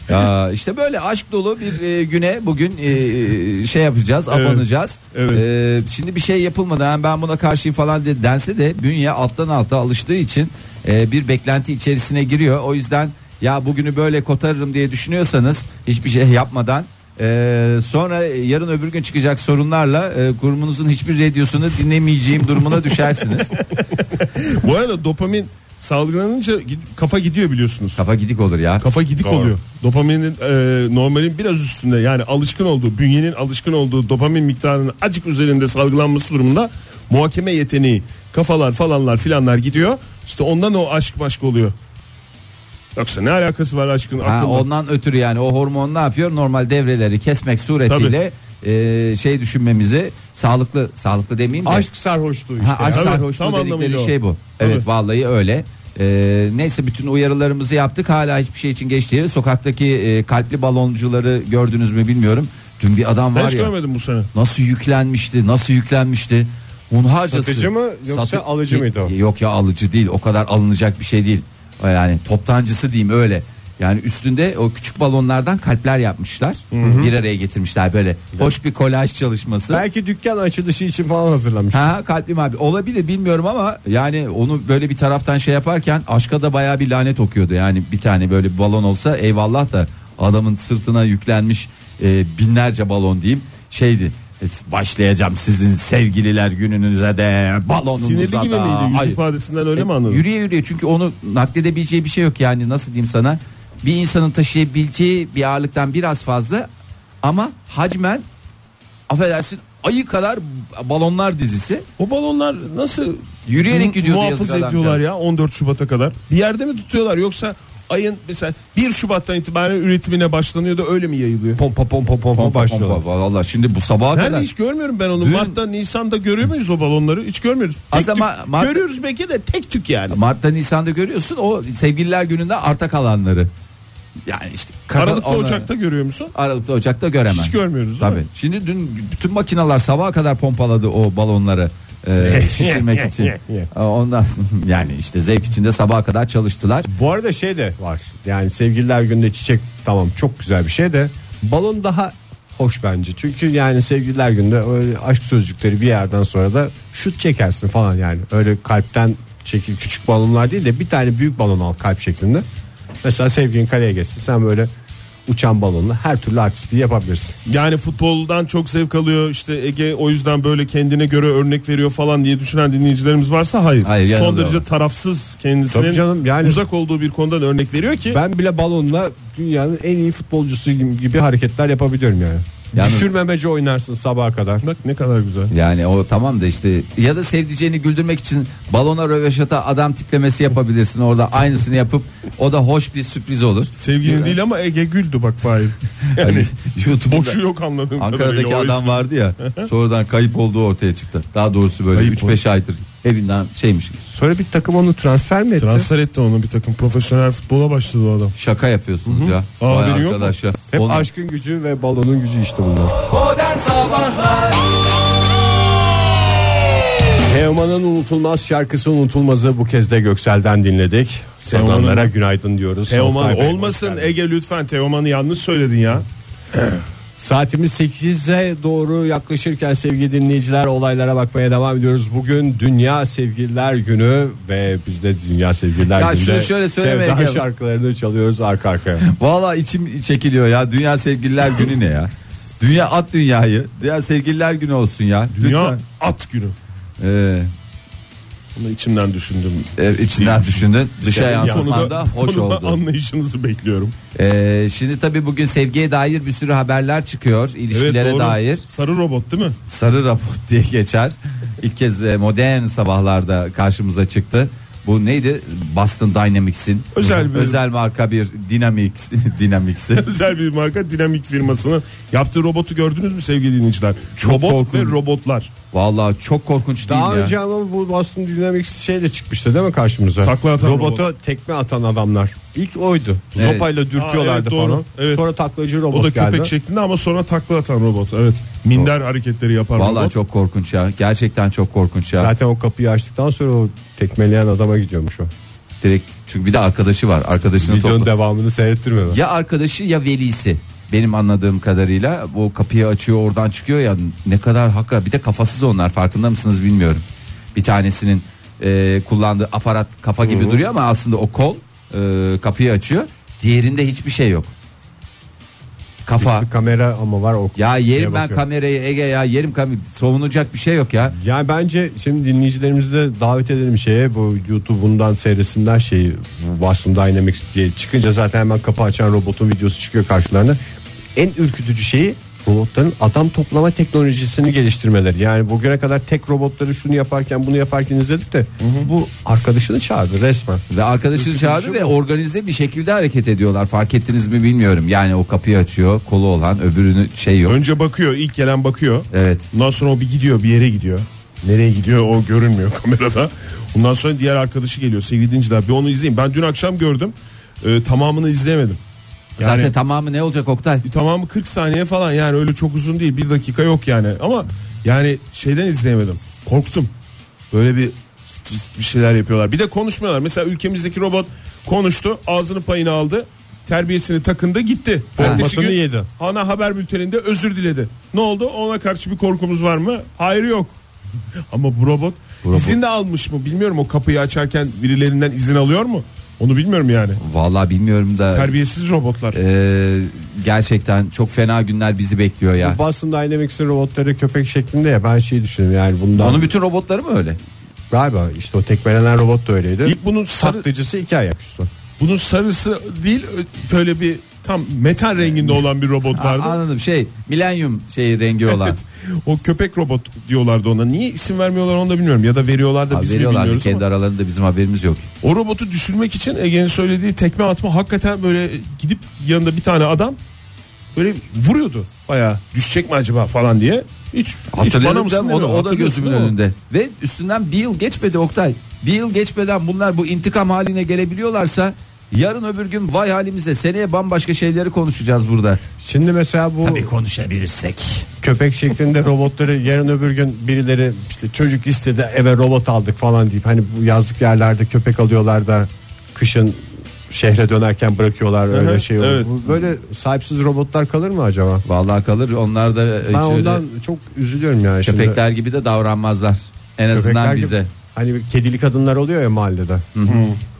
Ya işte böyle aşk dolu bir e, güne bugün e, şey yapacağız,
Evet,
abanacağız.
evet.
E, şimdi bir şey yapılmadan "Yani ben buna karşıyım falan de, dense de bünye alttan alta alıştığı için e, bir beklenti içerisine giriyor. O yüzden ya bugünü böyle kotarırım diye düşünüyorsanız hiçbir şey yapmadan e, sonra yarın öbür gün çıkacak sorunlarla e, kurumunuzun hiçbir radyosunu dinlemeyeceğim durumuna düşersiniz.
Bu arada dopamin salgılanınca gid- kafa gidiyor biliyorsunuz.
*laughs* Kafa gidik olur ya.
Kafa gidik
Doğru.
oluyor. Dopaminin e, normalin biraz üstünde yani alışkın olduğu, bünyenin alışkın olduğu dopamin miktarının acık üzerinde salgılanması durumunda muhakeme yeteneği, kafalar falanlar filanlar gidiyor. İşte ondan o aşk başk oluyor. Yoksa ne alakası var aşkın
Ha,
aklınla?
ondan ötürü yani o hormon ne yapıyor? Normal devreleri kesmek suretiyle e, şey düşünmemizi sağlıklı sağlıklı demeyeyim de.
Aşk sarhoşluğu işte.
ha, aşk
Tabii,
sarhoşluğu
tam anlamıyla
dedikleri
o.
şey bu.
Tabii.
Evet vallahi öyle. E, neyse bütün uyarılarımızı yaptık hala hiçbir şey için geç değil. Sokaktaki e, kalpli baloncuları gördünüz mü bilmiyorum. Dün bir adam
Ben
var
hiç
ya
görmedim bu sene.
nasıl yüklenmişti nasıl yüklenmişti. Hunharcası.
Satıcı mı, yoksa alıcı mıydı o?
Yok ya alıcı değil o kadar alınacak bir şey değil. Yani toptancısı diyeyim öyle. Yani üstünde o küçük balonlardan kalpler yapmışlar. Bir araya getirmişler böyle. Hoş bir kolaj çalışması.
Belki dükkan açılışı için falan hazırlamış.
Ha kalbim abi olabilir bilmiyorum ama yani onu böyle bir taraftan şey yaparken aşka da bayağı bir lanet okuyordu. Yani bir tane böyle bir balon olsa eyvallah da adamın sırtına yüklenmiş e, binlerce balon diyeyim şeydi. e, Başlayacağım sizin sevgililer gününüze de balonunuza
Sinirli gibi
da.
miydi? Yüz
Hayır. E,
ifadesinden öyle mi anladın?
Yürüye yürüye çünkü onu nakledebileceği bir şey yok yani nasıl diyeyim sana. Bir insanın taşıyabileceği bir ağırlıktan biraz fazla ama hacmen affedersin ayı kadar balonlar dizisi.
O balonlar nasıl
Yürüyerek gidiyordu
muhafız
yazık
ediyorlar
adamcağız.
ya 14 Şubat'a kadar. Bir yerde mi tutuyorlar yoksa ayın mesela 1 Şubat'tan itibaren üretimine başlanıyor da öyle mi yayılıyor?
Pompa pompa pompa,
Pompa,
başlıyorlar.
pompa, Valla şimdi bu sabaha
Nerede
kadar.
hiç görmüyorum ben onu.
Dün-
Mart'ta, Nisan'da görüyor muyuz o balonları? Hiç görmüyoruz. Tek
Aslında
tük.
Ma- Mart-
Görüyoruz belki de tek tük yani.
Mart'ta Nisan'da görüyorsun o sevgililer gününde arta kalanları. Yani işte kaka-
Aralık'ta,
onları-
Ocak'ta görüyor musun?
Aralık'ta Ocak'ta göremem.
Hiç görmüyoruz, değil
Tabii.
mi?
Şimdi dün bütün makineler sabaha kadar pompaladı o balonları
*laughs*
e, şişirmek için. E, Ondan *laughs* yani işte zevk içinde sabaha kadar çalıştılar.
Bu arada şey de var. Yani sevgililer günde çiçek tamam çok güzel bir şey de balon daha hoş bence. Çünkü yani sevgililer günde öyle aşk sözcükleri bir yerden sonra da şut çekersin falan yani. Öyle kalpten çekil küçük balonlar değil de bir tane büyük balon al kalp şeklinde. Mesela sevgilin kaleye geçsin sen böyle uçan balonla her türlü artisti yapabilirsin.
Yani futboldan çok zevk alıyor işte Ege o yüzden böyle kendine göre örnek veriyor falan diye düşünen dinleyicilerimiz varsa hayır.
Hayır,
Son
yanılıyor.
derece tarafsız kendisinin
Tabii canım, yani-
uzak olduğu bir konudan örnek veriyor ki
Ben bile balonla dünyanın en iyi futbolcusu gibi gibi hareketler yapabiliyorum yani.
Yani-
Düşürmemece oynarsın sabaha kadar.
bak ne kadar güzel.
Yani o tamam da işte ya da sevdiceğini güldürmek için balona röveşata adam tiplemesi yapabilirsin orada aynısını yapıp o da hoş bir sürpriz olur.
Sevgilin değil ama Ege güldü bak Fahir. Yani
Yani YouTube'da
boşu *laughs* yok anladığım
Ankara'daki
kadarıyla. O
adam
ismi.
vardı
*laughs*
ya sonradan kayıp olduğu ortaya çıktı. Daha doğrusu böyle
Kayıp
3-5 aydır evinden şeymiş
Sonra bir takım onu transfer mi etti?
Transfer etti onu bir takım profesyonel futbola başladı o adam.
şaka yapıyorsunuz ya.
Aa,
Vay
haberi yok mu?
arkadaş ya.
Hep
Onun-
aşkın gücü ve balonun gücü işte bunlar. Teoman'ın unutulmaz şarkısı unutulmazı bu kez de Göksel'den dinledik.
Teoman'ın-
Sazanlara günaydın diyoruz.
Teoman
Oktay Bey,
olmasın
hoş geldin.
Ege lütfen Teoman'ı yanlış söyledin ya.
Saatimiz 8'e doğru yaklaşırken sevgili dinleyiciler olaylara bakmaya devam ediyoruz. Bugün Dünya Sevgililer Günü ve biz de Dünya Sevgililer
Ya
Günü'nde
şunu şöyle söyleme
sevda
Ege.
şarkılarını çalıyoruz arka arkaya.
Valla içim çekiliyor ya. Dünya Sevgililer Günü ne ya? Dünya at dünyayı. Dünya Sevgililer Günü olsun ya.
Dünya
Lütfen.
at günü.
Ee,
Bunu içimden düşündüm.
e, içinden
Değil.
düşündün. Dışa
Yani
yansıman Şey da hoş
konuda
oldu.
anlayışınızı bekliyorum.
Ee, şimdi tabii bugün sevgiye dair bir sürü haberler çıkıyor. İlişkilere
doğru.
dair.
Sarı robot değil mi? *laughs*
Sarı rapor diye geçer. İlk kez e, modern sabahlarda karşımıza çıktı. Bu neydi? Boston Dynamics'in
Özel bir-
özel marka bir Dynamics *laughs* Dynamics'i.
Özel bir marka dinamik firmasının yaptığı robotu gördünüz mü sevgili dinleyiciler? robot
korkunç.
ve robotlar.
Vallahi çok korkunç değil
Daha
ya.
önce ama bu Boston Dynamics şeyle çıkmıştı değil mi karşımıza?
Takla atan
Robota tekme atan adamlar. İlk oydu.
Evet.
Zopayla
Aa,
dürtüyorlardı
evet, doğru.
falan.
Evet.
Sonra taklacı robot
O da
geldi.
köpek şeklinde ama sonra takla atan robot. Evet. Minder hareketleri yapar
Vallahi
robot.
çok korkunç ya. Gerçekten çok korkunç ya.
Zaten o kapıyı açtıktan sonra o tekmeleyen adama gidiyormuş o.
Direkt çünkü bir de arkadaşı var. Arkadaşını
Videonun
topla.
devamını seyrettirmiyorlar.
Ya arkadaşı ya velisi. Benim anladığım kadarıyla bu kapıyı açıyor oradan çıkıyor ya ne kadar hakka bir de kafasız onlar farkında mısınız bilmiyorum. Bir tanesinin e, kullandığı aparat kafa gibi duruyor ama aslında o kol e, kapıyı açıyor. Diğerinde hiçbir şey yok. Kafa.
Bir kamera ama var o. şey
Ya yerim ben
bakıyor.
kamerayı Ege ya yerim kamerayı savunacak bir şey yok ya.
Yani bence şimdi dinleyicilerimizi de davet edelim şeye bu YouTube'undan seyretsinler şeyi bu Boston Dynamics diye çıkınca zaten hemen kapı açan robotun videosu çıkıyor karşılarına. En ürkütücü şeyi robotların adam toplama teknolojisini geliştirmeleri. Yani bugüne kadar tek robotları şunu yaparken bunu yaparken izledik de bu arkadaşını çağırdı resmen.
Ve arkadaşını çağırdı ve organize bir şekilde hareket ediyorlar. Fark ettiniz mi bilmiyorum. Yani o kapıyı açıyor, kolu olan, öbürünü şey yok.
Önce bakıyor ilk gelen bakıyor.
Evet.
Ondan sonra o bir gidiyor bir yere gidiyor. Nereye gidiyor o görünmüyor *laughs* kamerada. Ondan sonra diğer arkadaşı geliyor sevgili dinciler bir onu izleyin. Ben dün akşam gördüm Ee, tamamını izleyemedim. Yani
Zaten tamamı ne olacak Oktay?
E, tamamı 40 saniye falan yani öyle çok uzun değil bir dakika yok yani. Ama yani şeyden izleyemedim korktum. Böyle bir bir şeyler yapıyorlar. Bir de konuşmuyorlar. Mesela ülkemizdeki robot konuştu ağzını payını aldı terbiyesini takındı gitti.
Formatını
Ertesi gün-
yedi.
Ana haber bülteninde özür diledi. Ne oldu? Ona karşı bir korkumuz var mı? Hayır yok. *laughs* Ama bu robot,
robot-
izin de almış mı bilmiyorum. O kapıyı açarken birilerinden izin alıyor mu? Onu bilmiyorum yani.
Vallahi bilmiyorum da
Terbiyesiz robotlar.
e, gerçekten çok fena günler bizi bekliyor ya.
Bu Boston Dynamics'in robotları köpek şeklinde ya ben şey düşünüyorum yani bundan
Onun bütün robotları mı öyle?
galiba işte o tekmelenen robot da öyleydi.
İlk bunun sarı,
Saklıcısı iki ayaküstü.
bunun sarısı değil ö- böyle bir tam metal renginde olan bir robot
A-
vardı.
anladım şey milenyum şey rengi olan.
Evet. O köpek robot diyorlardı ona. Niye isim vermiyorlar onu da bilmiyorum. Ya da veriyorlar da
Ha,
biz mi
Veriyorlar
bilmiyoruz ama.
kendi aralarında bizim haberimiz yok.
O robotu düşürmek için Ege'nin söylediği tekme atma hakikaten böyle gidip yanında bir tane adam böyle vuruyordu. Baya düşecek mi acaba falan diye. Hiç, hiç bana
Hatırladım
mısın
canım, o, da,
demiyor.
o da
Hatırlıyorsun
gözümün
değil mi?
önünde. Ve üstünden bir yıl geçmedi Oktay. Bir yıl geçmeden bunlar bu intikam haline gelebiliyorlarsa yarın öbür gün vay halimize seneye bambaşka şeyleri konuşacağız burada.
Şimdi mesela bu
konuşabilirsek.
köpek şeklinde
*laughs*
robotları yarın öbür gün birileri işte çocuk istedi eve robot aldık falan deyip hani bu yazlık yerlerde köpek alıyorlar da kışın şehre dönerken bırakıyorlar öyle
hı,
şey olur.
evet.
Bu Böyle sahipsiz robotlar kalır mı acaba?
Vallahi kalır onlar da e,
Ben
şöyle
ondan çok üzülüyorum yani. Şimdi
köpekler gibi de davranmazlar. En azından
gibi-
bize.
Hani bir kedili kadınlar oluyor ya mahallede.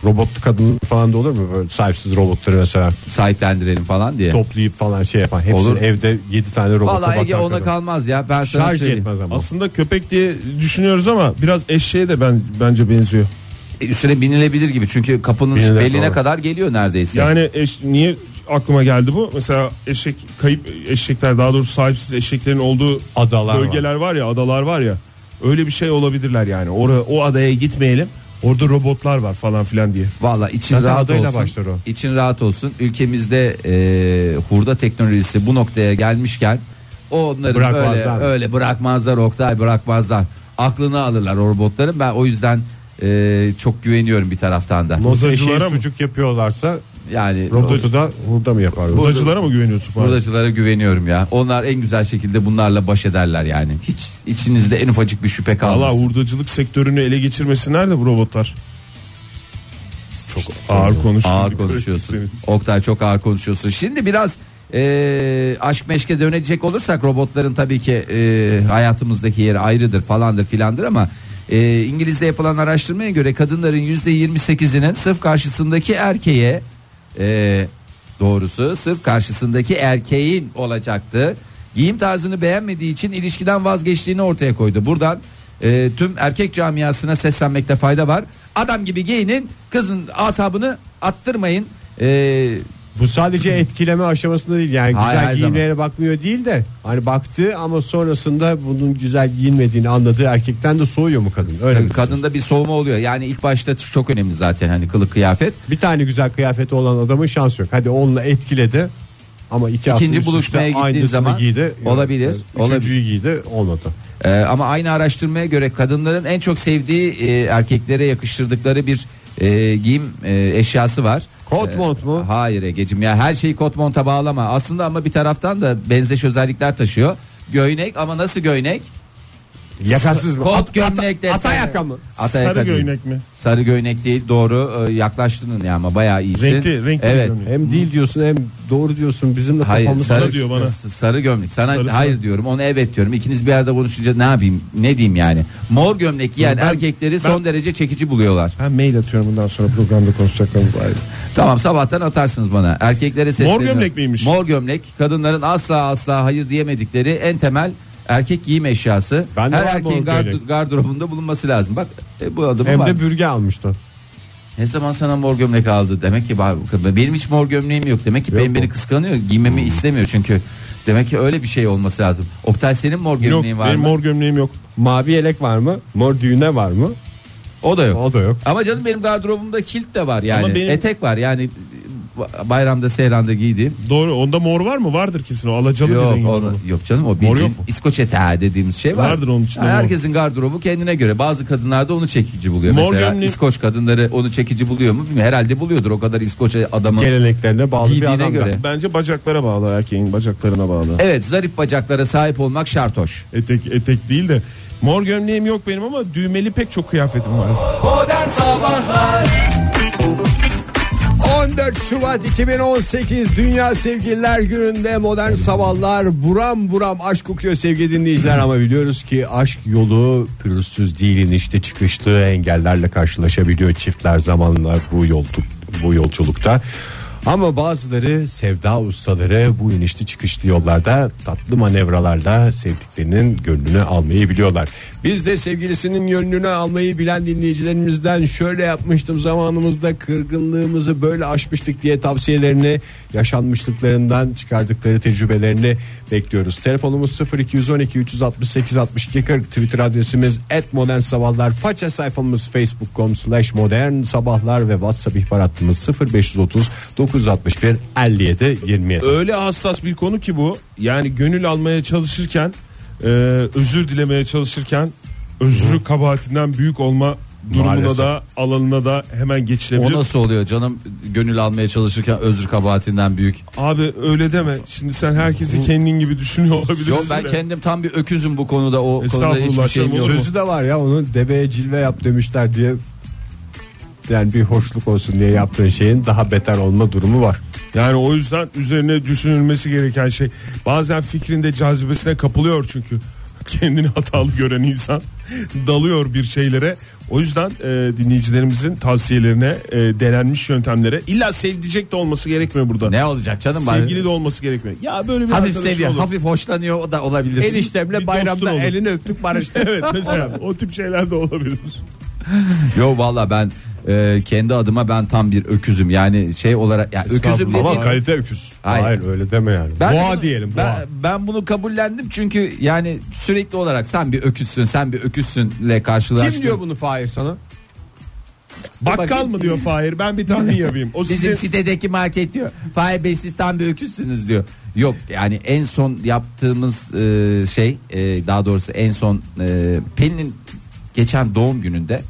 Robotlu kadın falan da olur mu böyle sahipsiz robotları mesela
Sahiplendirelim falan diye.
toplayıp falan şey yapan. Hepsini
Olur.
evde 7 tane robot
Vallahi Ege ona kalmaz ya. Ben sana
şarj
söyleyeyim.
etmez ama.
Aslında köpek diye düşünüyoruz ama biraz eşeğe de ben bence benziyor.
E, Üstüne binilebilir gibi. Çünkü kapının
Binilebilir,
beline
doğru.
kadar geliyor neredeyse.
Yani eş- niye aklıma geldi bu? Mesela eşek kayıp eşekler daha doğrusu sahipsiz eşeklerin olduğu
Adalar var.
bölgeler var. ya, adalar var ya. Öyle bir şey olabilirler yani. Oraya o adaya gitmeyelim. Orada robotlar var falan filan diye.
Valla için
Zaten
rahat
adayla
olsun.
başlar o.
İçin rahat olsun. Ülkemizde e, hurda teknolojisi bu noktaya gelmişken onları böyle
Bırakmazlar.
öyle bırakmazlar Oktay bırakmazlar. Aklını alırlar o robotların. Ben o yüzden e, çok güveniyorum bir taraftan da.
Mozacılara
Mozacılara mı?
sucuk yapıyorlarsa
Yani
robotu da hurda mı yapar?
Hurdacılara mı güveniyorsun falan?
hurdacılara güveniyorum ya. Onlar en güzel şekilde bunlarla baş ederler yani. Hiç içinizde en ufacık bir şüphe
Allah
kalmaz.
hurdacılık sektörünü ele geçirmesi nerede bu robotlar? Çok ağır konuştun.
Ağır
Dikkat
konuşuyorsun.
etseniz.
Oktay çok ağır konuşuyorsun. Şimdi biraz e, aşk meşke dönecek olursak robotların tabii ki e, hayatımızdaki yeri ayrıdır falandır filandır ama e, İngiliz'de yapılan araştırmaya göre kadınların %28'inin sırf karşısındaki erkeğe e, doğrusu sırf karşısındaki erkeğin olacaktı. Giyim tarzını beğenmediği için ilişkiden vazgeçtiğini ortaya koydu. Buradan e, tüm erkek camiasına seslenmekte fayda var. Adam gibi giyinin kızın asabını attırmayın. E,
Bu sadece etkileme aşamasında değil yani
Hayır,
güzel
her
giyinmeye bakmıyor değil de hani baktı ama sonrasında bunun güzel giyinmediğini anladığı erkekten de soğuyor mu kadın? Öyle mi?
kadında bir soğuma oluyor. Yani ilk başta çok önemli zaten hani kılık kıyafet.
Bir tane güzel kıyafeti olan adamın şansı yok. Hadi onunla etkiledi ama iki hafta
İkinci
üst üste
buluşmaya gittiği
aynısını
zaman
giydi.
olabilir,
Üçüncüyü giydi olmadı.
Ee, ama aynı araştırmaya göre kadınların en çok sevdiği e, erkeklere yakıştırdıkları bir e, giyim e, eşyası var.
Kot
Ee,
mont mu?
Hayır Egeciğim ya her şeyi kot monta bağlama. Aslında ama bir taraftan da benzeş özellikler taşıyor. Göynek ama nasıl göynek?
Yakasız
*laughs*
mı?
Kot
At-
gömlek de.
ata yaka mı?
Atayaka
Sarı
değil.
göynek mi?
Sarı göynek değil doğru e, yaklaştın ya ama bayağı iyisin.
Renkli, renkli
evet.
görünüyor.
Hem değil diyorsun hem doğru diyorsun bizim de
Hayır
kafamız
sarı,
diyor bana.
sarı gömlek sana
Sarı, sarı.
hayır diyorum ona evet diyorum ikiniz bir yerde konuşunca ne yapayım ne diyeyim yani mor gömlek giyen
Ben-
erkekleri son derece çekici buluyorlar
Ben mail atıyorum bundan sonra programda konuşacaklarımız ayrı.
Tamam sabahtan atarsınız bana. Erkeklere sesleniyorum.
gömlek miymiş?
Mor gömlek kadınların asla asla hayır diyemedikleri en temel erkek giyim eşyası.
Bende
Her
var
erkeğin
mor
gard-
gömlek.
gardırobunda bulunması lazım. Bak e, bu adamı
Hem
var.
de bürge almıştı.
Ne zaman sana mor gömlek aldı? Demek ki bak- benim hiç mor gömleğim yok. Demek ki
Yok
benim
mu? Hmm.
beni kıskanıyor. Giymemi istemiyor çünkü. Demek ki öyle bir şey olması lazım. Oktay senin mor
Yok
gömleğin
benim
var mı?
mor gömleğim yok.
Mavi yelek var mı? Mor düğüne var mı?
O da yok.
O da yok.
Ama canım benim gardırobumda kilt de var yani.
Ama benim-
Etek var yani ba- bayramda seyranda giydiğim.
Doğru onda mor var mı? Vardır kesin o alacalı bir rengi.
Yok,
var.
onu, yok canım o bildiğin
Mor yok mu?
İskoç eteği dediğimiz şey var.
Vardır onun içinde
Ha,
mor.
herkesin gardırobu kendine göre. Bazı kadınlar da onu çekici buluyor.
Mor
Mesela
gömlek-
İskoç kadınları onu çekici buluyor mu? Bilmiyorum. Herhalde buluyordur o kadar İskoç adamı.
Geleneklerine bağlı bir
Giydiğine
adam
göre.
göre.
Bence bacaklara bağlı erkeğin bacaklarına bağlı.
Evet zarif bacaklara sahip olmak şart hoş.
Etek etek değil de mor gömleğim yok benim ama düğmeli pek çok kıyafetim var.
14 Şubat 2018 Dünya Sevgililer Günü'nde modern sabahlar buram buram aşk kokuyor sevgili dinleyiciler ama biliyoruz ki aşk yolu pürüzsüz değil inişte çıkışlı engellerle karşılaşabiliyor çiftler zamanlar bu yol bu yolculukta. Ama bazıları sevda ustaları bu inişli çıkışlı yollarda tatlı manevralarla sevdiklerinin gönlünü almayı biliyorlar. Biz de sevgilisinin gönlünü almayı bilen dinleyicilerimizden şöyle yapmıştım zamanımızda kırgınlığımızı böyle aşmıştık diye tavsiyelerini yaşanmışlıklarından çıkardıkları tecrübelerini bekliyoruz. Telefonumuz 0212 368 62 40 Twitter adresimiz et modern sabahlar faça sayfamız facebook.com slash modern sabahlar ve whatsapp ihbar hattımız 0530 961 57 27.
Öyle hassas bir konu ki bu. Yani gönül almaya çalışırken e, özür dilemeye çalışırken özrü kabahatinden büyük olma durumuna
Maalesef.
da alanına da hemen
O
geçilebilir.
nasıl oluyor canım gönül almaya çalışırken özür kabahatinden büyük.
Abi öyle deme. Şimdi sen herkesi kendin gibi düşünüyor olabilirsin.
Yok ben
de.
kendim tam bir öküzüm bu konuda o konuda hiçbir
Estağfurullah
şeyim yok.
canım,
Sözü de var ya onun deveye cilve yap demişler diye yani bir hoşluk olsun diye yaptığın şeyin daha beter olma durumu var.
Yani o yüzden üzerine düşünülmesi gereken şey. Bazen fikrinde cazibesine kapılıyor çünkü. *laughs* kendini hatalı gören insan *laughs* dalıyor bir şeylere. O yüzden e, dinleyicilerimizin tavsiyelerine, e, denenmiş yöntemlere illa sevdicek de olması gerekmiyor burada.
Ne olacak canım? bari?
Sevgili de olması gerekmiyor. Ya böyle bir
hafif
arkadaşın
seviyor,
olur.
hafif hoşlanıyor o da olabilir.
Bir
Eniştemle
dostun
bayramda
olur.
elini öptük barıştık.
*laughs* Evet mesela o tip şeyler de olabilir.
Yo valla ben e, kendi adıma ben tam bir öküzüm. Yani şey olarak yani öküzüm
Ama
dediğim-
kalite öküz.
Hayır.
Hayır. *laughs* öyle deme yani.
Ben
boğa
bunu-
diyelim boğa.
Ben, ben bunu kabullendim çünkü yani sürekli olarak sen bir öküzsün, sen bir öküzsünle karşılaştın.
Kim diyor bunu Fahir sana?
Bakkal mı diyor Fahir ben bir tahmin yapayım. O
Bizim
sizin
sitedeki market diyor. Fahir Bey siz tam bir öküzsünüz diyor. Yok yani en son yaptığımız e, şey e, daha doğrusu en son e, Pelin'in geçen doğum gününde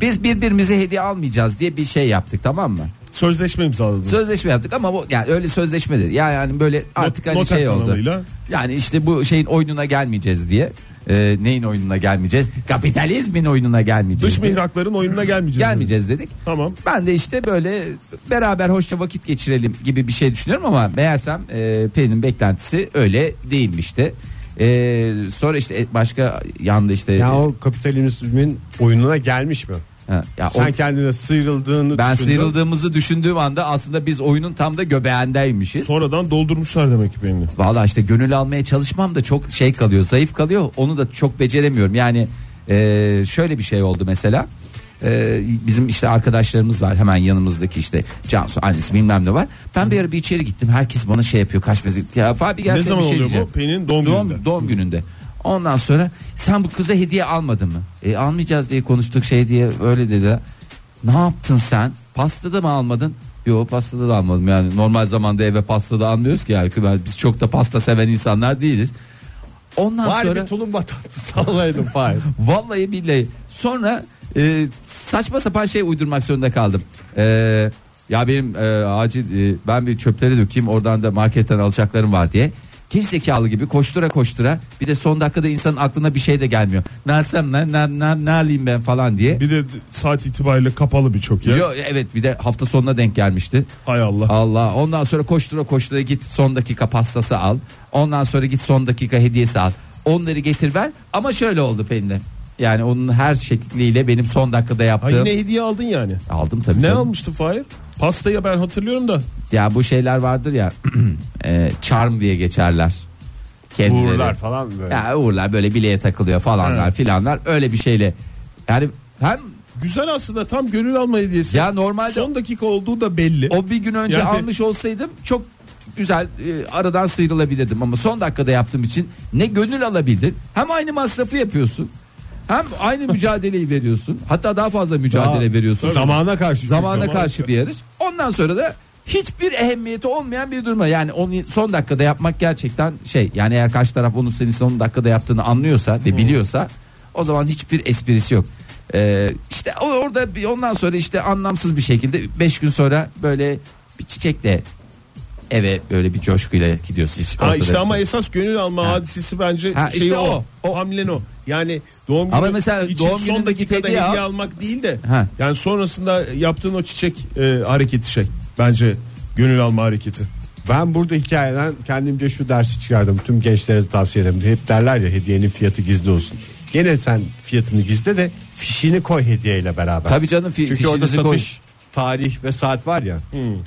biz birbirimize hediye almayacağız diye bir şey yaptık tamam mı?
sözleşme imzaladınız.
Sözleşme yaptık ama bu yani öyle sözleşme değil. Yani, yani böyle artık hani
not
şey oldu.
anlamıyla.
Yani işte bu şeyin oyununa gelmeyeceğiz diye. Ee, neyin oyununa gelmeyeceğiz? Kapitalizmin oyununa gelmeyeceğiz.
Dış
diye.
mihrakların oyununa gelmeyeceğiz.
Gelmeyeceğiz dedik.
Tamam.
Ben de işte böyle beraber hoşça vakit geçirelim gibi bir şey düşünüyorum ama meğersem e, Pelin'in beklentisi öyle değilmişti. E, sonra işte başka yanda işte
Ya o kapitalizmin oyununa gelmiş mi?
Ha, ya o-
Sen kendine sıyrıldığını
ben
düşündün.
sıyrıldığımızı düşündüğüm anda aslında biz oyunun tam da göbeğindeymişiz.
Sonradan doldurmuşlar demek ki beni.
Valla işte gönül almaya çalışmam da çok şey kalıyor zayıf kalıyor onu da çok beceremiyorum yani e, şöyle bir şey oldu mesela E, bizim işte arkadaşlarımız var hemen yanımızdaki işte Cansu annesi bilmem ne var ben bir ara bir içeri gittim herkes bana şey yapıyor kaç mezi ya Fabi gelsene
Ne zaman
bir şey
oluyor
diyeceğim.
bu? Pelin'in doğum gününde.
doğum gününde ondan sonra sen bu kıza hediye almadın mı e, almayacağız diye konuştuk şey diye öyle dedi ne yaptın sen pastada mı almadın Yo pastada da almadım yani normal zamanda eve pasta da almıyoruz ki yani Ben- biz çok da pasta seven insanlar değiliz. Ondan
Var
sonra
bir tulum batartı sallaydım Fahir.
vallahi billahi sonra e, saçma sapan şey uydurmak zorunda kaldım. E, ya benim e, acil e, ben bir çöpleri dökeyim oradan da marketten alacaklarım var diye. Gerizekalı gibi koştura koştura bir de son dakikada insanın aklına bir şey de gelmiyor. Ne alsam ne, ne, ne, ne alayım ben falan diye.
Bir de saat itibariyle kapalı birçok yer.
Yo, evet bir de hafta sonuna denk gelmişti.
Hay Allah.
Allah. Ondan sonra koştura koştura git son dakika pastası al. Ondan sonra git son dakika hediyesi al. Onları getir ver. Ama şöyle oldu Pelin'de. Yani onun her şekliyle benim son dakikada
Ha
yaptığım.
yine hediye aldın yani.
Aldım tabii.
Ne
canım.
almıştı Fahir? Pastaya ben hatırlıyorum da.
Ya bu şeyler vardır ya. *clears throat* e, charm diye geçerler. Kendileri.
Uğurlar falan böyle.
Ya uğurlar böyle bileğe takılıyor falanlar
Evet.
filanlar. Öyle bir şeyle. Yani hem
Güzel aslında tam gönül alma hediyesi.
ya normalde
Son dakika olduğu da belli.
O bir gün önce
Yani-
almış olsaydım çok güzel e, aradan sıyrılabilirdim ama son dakikada yaptığım için ne gönül alabildin hem aynı masrafı yapıyorsun hem aynı mücadeleyi veriyorsun hatta daha fazla mücadele veriyorsun
Zamana karşı.
zamana
Zaman-
karşı bir yarış ondan sonra da hiçbir ehemmiyeti olmayan bir duruma yani onu son dakikada yapmak gerçekten şey yani eğer karşı taraf onun senin son dakikada yaptığını anlıyorsa
Hmm.
ve biliyorsa o zaman hiçbir esprisi yok. Ee, işte o- orada bir- ondan sonra işte anlamsız bir şekilde 5 gün sonra böyle bir çiçekle eve böyle bir coşkuyla gidiyorsun. Hiç
Ha
ortada bir
işte
şey
ama
yok.
esas gönül alma
Ha.
hadisesi bence
Ha,
şey
işte
o.
o.
o. Hamlen o. Yani doğum günü
Ama mesela
için
doğum
son
günündeki
dakikada
hediye
hediye
al-
almak değil de
Ha.
yani sonrasında yaptığın o çiçek e, hareketi şey. Bence gönül alma hareketi.
Ben burada hikayeden kendimce şu dersi çıkardım. Tüm gençlere de tavsiye ederim. Hep derler ya hediyenin fiyatı gizli olsun. Gene sen fiyatını gizle de fişini koy hediyeyle beraber.
Tabii canım, fi-
Çünkü
fişinizi
orada satış
koy. Hmm.
tarih ve saat var ya.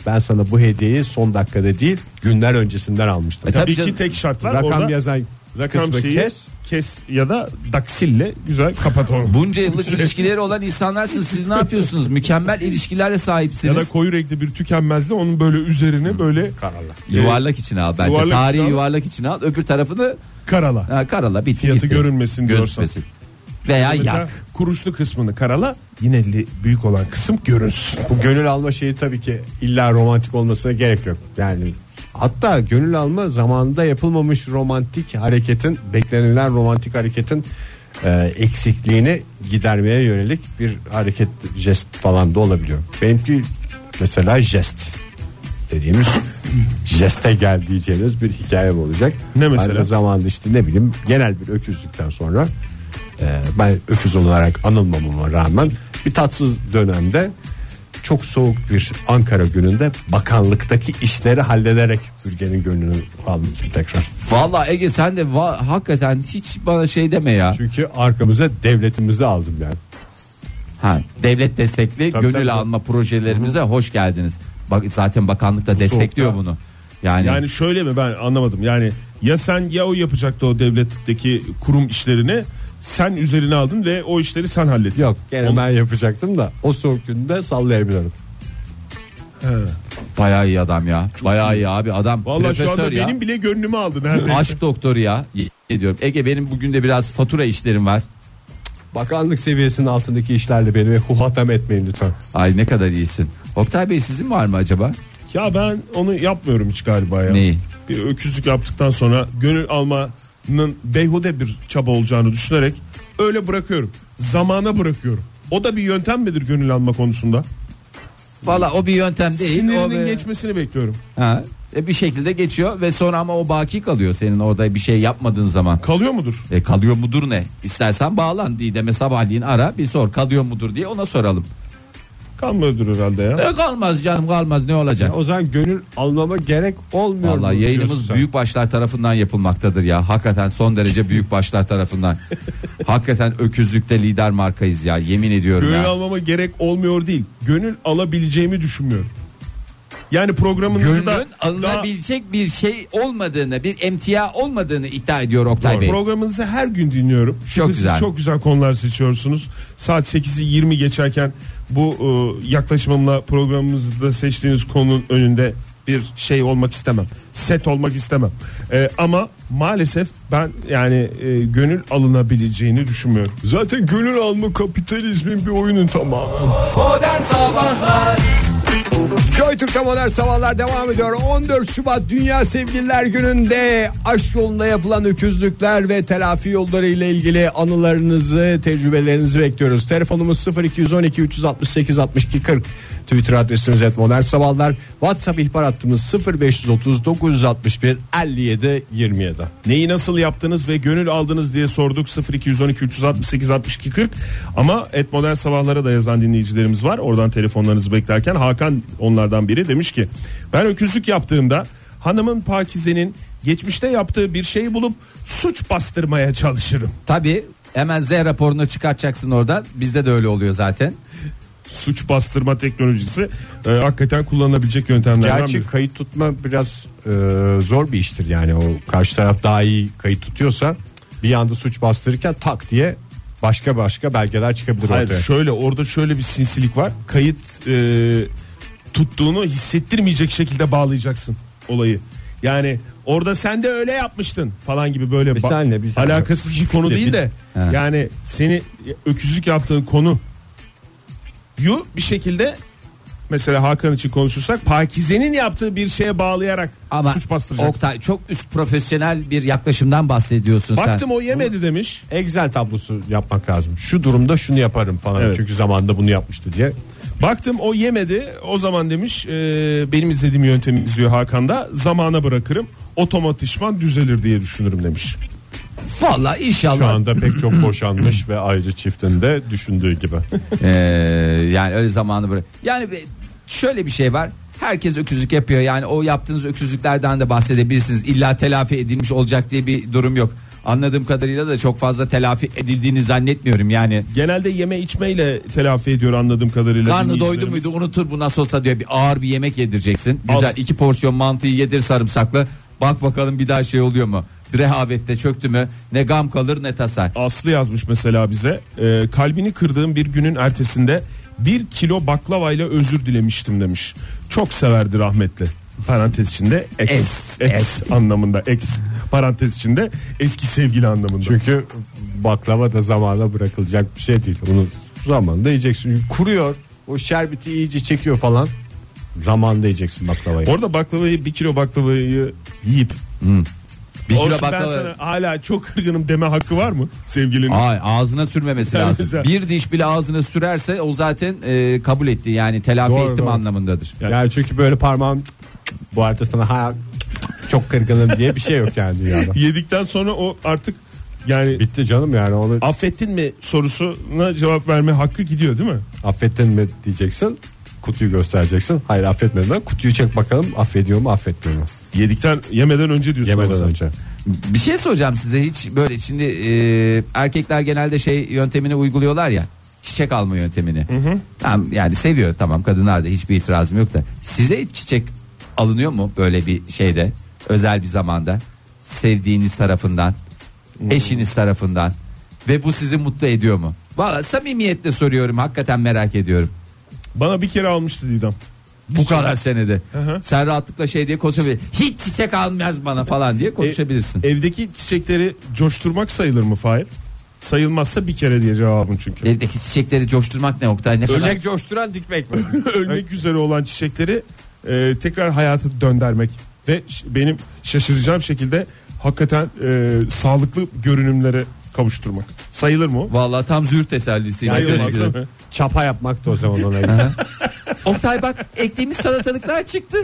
Ben sana bu hediyeyi son dakikada değil günler öncesinden almıştım.
E tabii
Bir
canım.
iki tek şart var.
rakam
Orada
yazan
rakam
kısmı
şeyi
kes.
kes. ya da daksille güzel kapat onu.
Bunca
*laughs*
yıllık ilişkileri olan insanlarsınız siz ne yapıyorsunuz mükemmel ilişkilerle
ya
sahipsiniz.
da koyu renkli bir tükenmezdi onun böyle
Hmm.
üzerine böyle
Kararlar.
Yuvarlak için al bence.
Ee, Yuvarlak
Tarihi
için al.
yuvarlak için al. Öbür tarafını
karala.
ha, karala bitti.
Fiyatı
gitti.
görünmesin diyorsan.
Görünmesin. Veya
Mesela
yak.
kuruşlu kısmını karala yine li- büyük olan kısım görünsün.
Hmm.
Bu gönül alma şeyi tabii ki illa romantik olmasına gerek yok. Yani hatta gönül alma zamanında yapılmamış romantik hareketin beklenilen romantik hareketin e, eksikliğini gidermeye yönelik bir hareket jest falan da olabiliyor. Benimki mesela jest dediğimiz jeste gel diyeceğiniz bir hikaye olacak.
Ne mesela?
Ben de zamanında işte ne bileyim genel bir öküzlükten sonra e, ben öküz olarak anılmamama rağmen bir tatsız dönemde çok soğuk bir Ankara gününde bakanlıktaki işleri hallederek Bürgen'in gönlünü aldım tekrar.
Valla Ege sen de va- hakikaten hiç bana şey deme ya.
Çünkü arkamıza devletimizi aldım yani.
Ha, devlet destekli
Tabii,
gönül
tabii.
alma projelerimize hoş geldiniz. Bak zaten bakanlık da destekliyor
soğukta.
bunu. Yani,
Yani şöyle mi ben anlamadım. Yani ya sen ya o yapacaktı o devletteki kurum işlerini sen üzerine aldın ve o işleri sen hallettin.
Yok gene
Onu-
ben yapacaktım da o soğuk günde sallayabilirim.
bayağı iyi adam ya. bayağı iyi abi adam.
Vallahi şu anda
profesör ya.
benim bile gönlümü aldı neredeyse.
aşk doktoru ya. Yemin ediyorum. Ege benim bugün de biraz fatura işlerim var.
Bakanlık seviyesinin altındaki işlerle beni huhatam etmeyin lütfen.
Ay ne kadar iyisin. Oktay Bey sizin var mı acaba?
Ya ben onu yapmıyorum hiç galiba ya.
Neyi?
Bir öküzlük yaptıktan sonra gönül almanın beyhude bir çaba olacağını düşünerek öyle bırakıyorum. Zamana bırakıyorum. O da bir yöntem midir gönül alma konusunda?
Valla o bir yöntem değil. o
Sinirinin
bir-
geçmesini bekliyorum.
Ha, e, bir şekilde geçiyor ve sonra ama o baki kalıyor senin orada bir şey yapmadığın zaman.
Kalıyor mudur?
E, kalıyor mudur ne? İstersen bağlan Didem'e sabahleyin ara bir sor kalıyor mudur diye ona soralım.
Kalmıyordur herhalde ya.
E, kalmaz canım kalmaz ne olacak?
O zaman gönül almama gerek olmuyor.
Valla
mu diyorsun
yayınımız
sen?
büyük başlar tarafından yapılmaktadır ya. Hakikaten son derece büyük başlar tarafından. Hakikaten öküzlükte lider markayız ya. Yemin ediyorum
Gönül
ya.
almama gerek olmuyor değil. Gönül alabileceğimi düşünmüyorum. Yani programınızı
Gönlün
da daha-
alınabilecek bir şey olmadığını, bir emtia olmadığını iddia ediyor Oktay Bey.
Programınızı her gün dinliyorum. Çünkü
Çok
siz
güzel.
Çok güzel konular seçiyorsunuz. Saat 8'i 20 geçerken bu e, yaklaşımımla programımızda seçtiğiniz konunun önünde bir şey olmak istemem. Set olmak istemem. E, ama maalesef ben yani e, gönül alınabileceğini düşünmüyorum.
Zaten gönül alma kapitalizmin bir oyunun tamamı. Joy Türk'te modern sabahlar devam ediyor. 14 Şubat Dünya Sevgililer Günü'nde aşk yolunda yapılan öküzlükler ve telafi yolları ile ilgili anılarınızı, tecrübelerinizi bekliyoruz. Telefonumuz 0212 368 62 40. Twitter adresimiz et modern sabahlar. WhatsApp ihbar hattımız 0530 961 57 27.
Neyi nasıl yaptınız ve gönül aldınız diye sorduk 0212 368 62 40 ama et modern sabahlara da yazan dinleyicilerimiz var oradan telefonlarınızı beklerken Hakan onlardan biri demiş ki ben öküzlük yaptığımda hanımın Pakize'nin geçmişte yaptığı bir şeyi bulup suç bastırmaya çalışırım.
Tabii hemen Z raporunu çıkartacaksın oradan. Bizde de öyle oluyor zaten.
Suç bastırma teknolojisi e, hakikaten kullanılabilecek yöntemlerden biri.
Gerçi kayıt tutma biraz e, zor bir iştir yani o karşı taraf daha iyi kayıt tutuyorsa bir anda suç bastırırken tak diye başka başka belgeler çıkabilir
Hayır
ortaya.
şöyle orada şöyle bir sinsilik var. Kayıt e, tuttuğunu hissettirmeyecek şekilde bağlayacaksın olayı. Yani orada sen de öyle yapmıştın falan gibi böyle
Bir
ba-
saniye, bir saniye.
alakasız bir konu
Bir-
değil de
Ha.
yani seni öküzlük yaptığın konu yu bir şekilde mesela Hakan için konuşursak Pakize'nin yaptığı bir şeye bağlayarak
Ama
suç bastıracaksın.
Oktay çok üst profesyonel bir yaklaşımdan bahsediyorsun sen.
Baktım o yemedi demiş.
Excel tablosu yapmak lazım. Şu durumda şunu yaparım falan
Evet.
çünkü zamanında bunu yapmıştı diye.
Baktım o yemedi. O zaman demiş e, benim izlediğim yöntemi izliyor Hakan da. Zamana bırakırım. Otomatikman düzelir diye düşünürüm demiş.
Vallahi inşallah.
Şu anda pek çok boşanmış ve ayrı çiftin de düşündüğü
*laughs*
gibi.
Ee, yani öyle zamanı bırak. Yani bir- şöyle bir şey var. Herkes öküzlük yapıyor. Yani o yaptığınız öküzlüklerden de bahsedebilirsiniz. İlla telafi edilmiş olacak diye bir durum yok. Anladığım kadarıyla da çok fazla telafi edildiğini zannetmiyorum. Yani
Genelde yeme içmeyle telafi ediyor anladığım kadarıyla.
Karnı doydu
dinleyicilerimiz.
muydu unutur bu nasıl olsa diyor bir ağır bir yemek yedireceksin. Güzel
Al.
iki porsiyon mantıyı yedir sarımsaklı. Bak bakalım bir daha şey oluyor mu? Bir Rehavette çöktü mü? Ne gam kalır ne tasar.
Aslı yazmış mesela bize. E, kalbini kırdığım bir günün ertesinde bir kilo baklavayla özür dilemiştim demiş. Çok severdi rahmetli. Parantez içinde ex,
Es,
ex,
es.
anlamında ex parantez içinde eski sevgili anlamında.
Çünkü baklava da zamana bırakılacak bir şey değil. Onu zamanında yiyeceksin. Çünkü Kuruyor. O şerbeti iyice çekiyor falan. Zamanında yiyeceksin baklavayı.
Orada baklavayı bir kilo baklavayı yiyip
Bir kilo
Olsun ben
baklava-
sana hala çok kırgınım deme hakkı var mı sevgilinin?
Ay, ağzına sürmemesi
Evet,
lazım.
güzel.
Bir diş bile ağzına sürerse o zaten e, kabul etti. Yani telafi
Doğru,
ettim
doğru.
anlamındadır.
Yani, çünkü böyle parmağım bu arada sana ha çok kırgınım diye bir şey yok yani
*laughs*
dünyada.
Yedikten sonra o artık yani
Bitti canım yani onu
affettin mi sorusuna cevap verme hakkı gidiyor değil mi?
affettin mi diyeceksin. kutuyu göstereceksin. Hayır affetmedim ben. Kutuyu çek bakalım affediyor mu affetmiyor mu?
Yedikten yemeden önce diyorsun. ama
Yemeden
sen.
önce.
Bir şey soracağım size hiç böyle şimdi e, erkekler genelde şey yöntemini uyguluyorlar ya çiçek alma yöntemini. Tamam yani seviyor tamam kadınlar da hiçbir itirazım yok da size hiç çiçek alınıyor mu böyle bir şeyde özel bir zamanda sevdiğiniz tarafından
Hmm.
eşiniz tarafından ve bu sizi mutlu ediyor mu? Valla samimiyetle soruyorum hakikaten merak ediyorum.
Bana bir kere almıştı Didem.
Bu kadar senede.
Şey- hı.
Sen rahatlıkla şey diye konuşabilirsin. Hiç çiçek almaz bana falan
E,
diye konuşabilirsin.
Evdeki çiçekleri coşturmak sayılır mı Fahir? Sayılmazsa bir kere diye cevabım
E,
çünkü.
Evdeki çiçekleri coşturmak ne Oktay ne kadar
Ölecek coşturan dikmek mi? e-
Ölmek üzere olan çiçekleri e, tekrar hayata döndermek. Ve ş- benim şaşıracağım şekilde hakikaten e, sağlıklı görünümlere kavuşturmak. Sayılır mı o?
Vallahi tam züğürt tesellisi.
Sayılmaz
Yani.
değil mi?
*laughs* Çapa yapmaktı o zaman ona. *laughs*
Oktay bak ektiğimiz salatalıklar çıktı.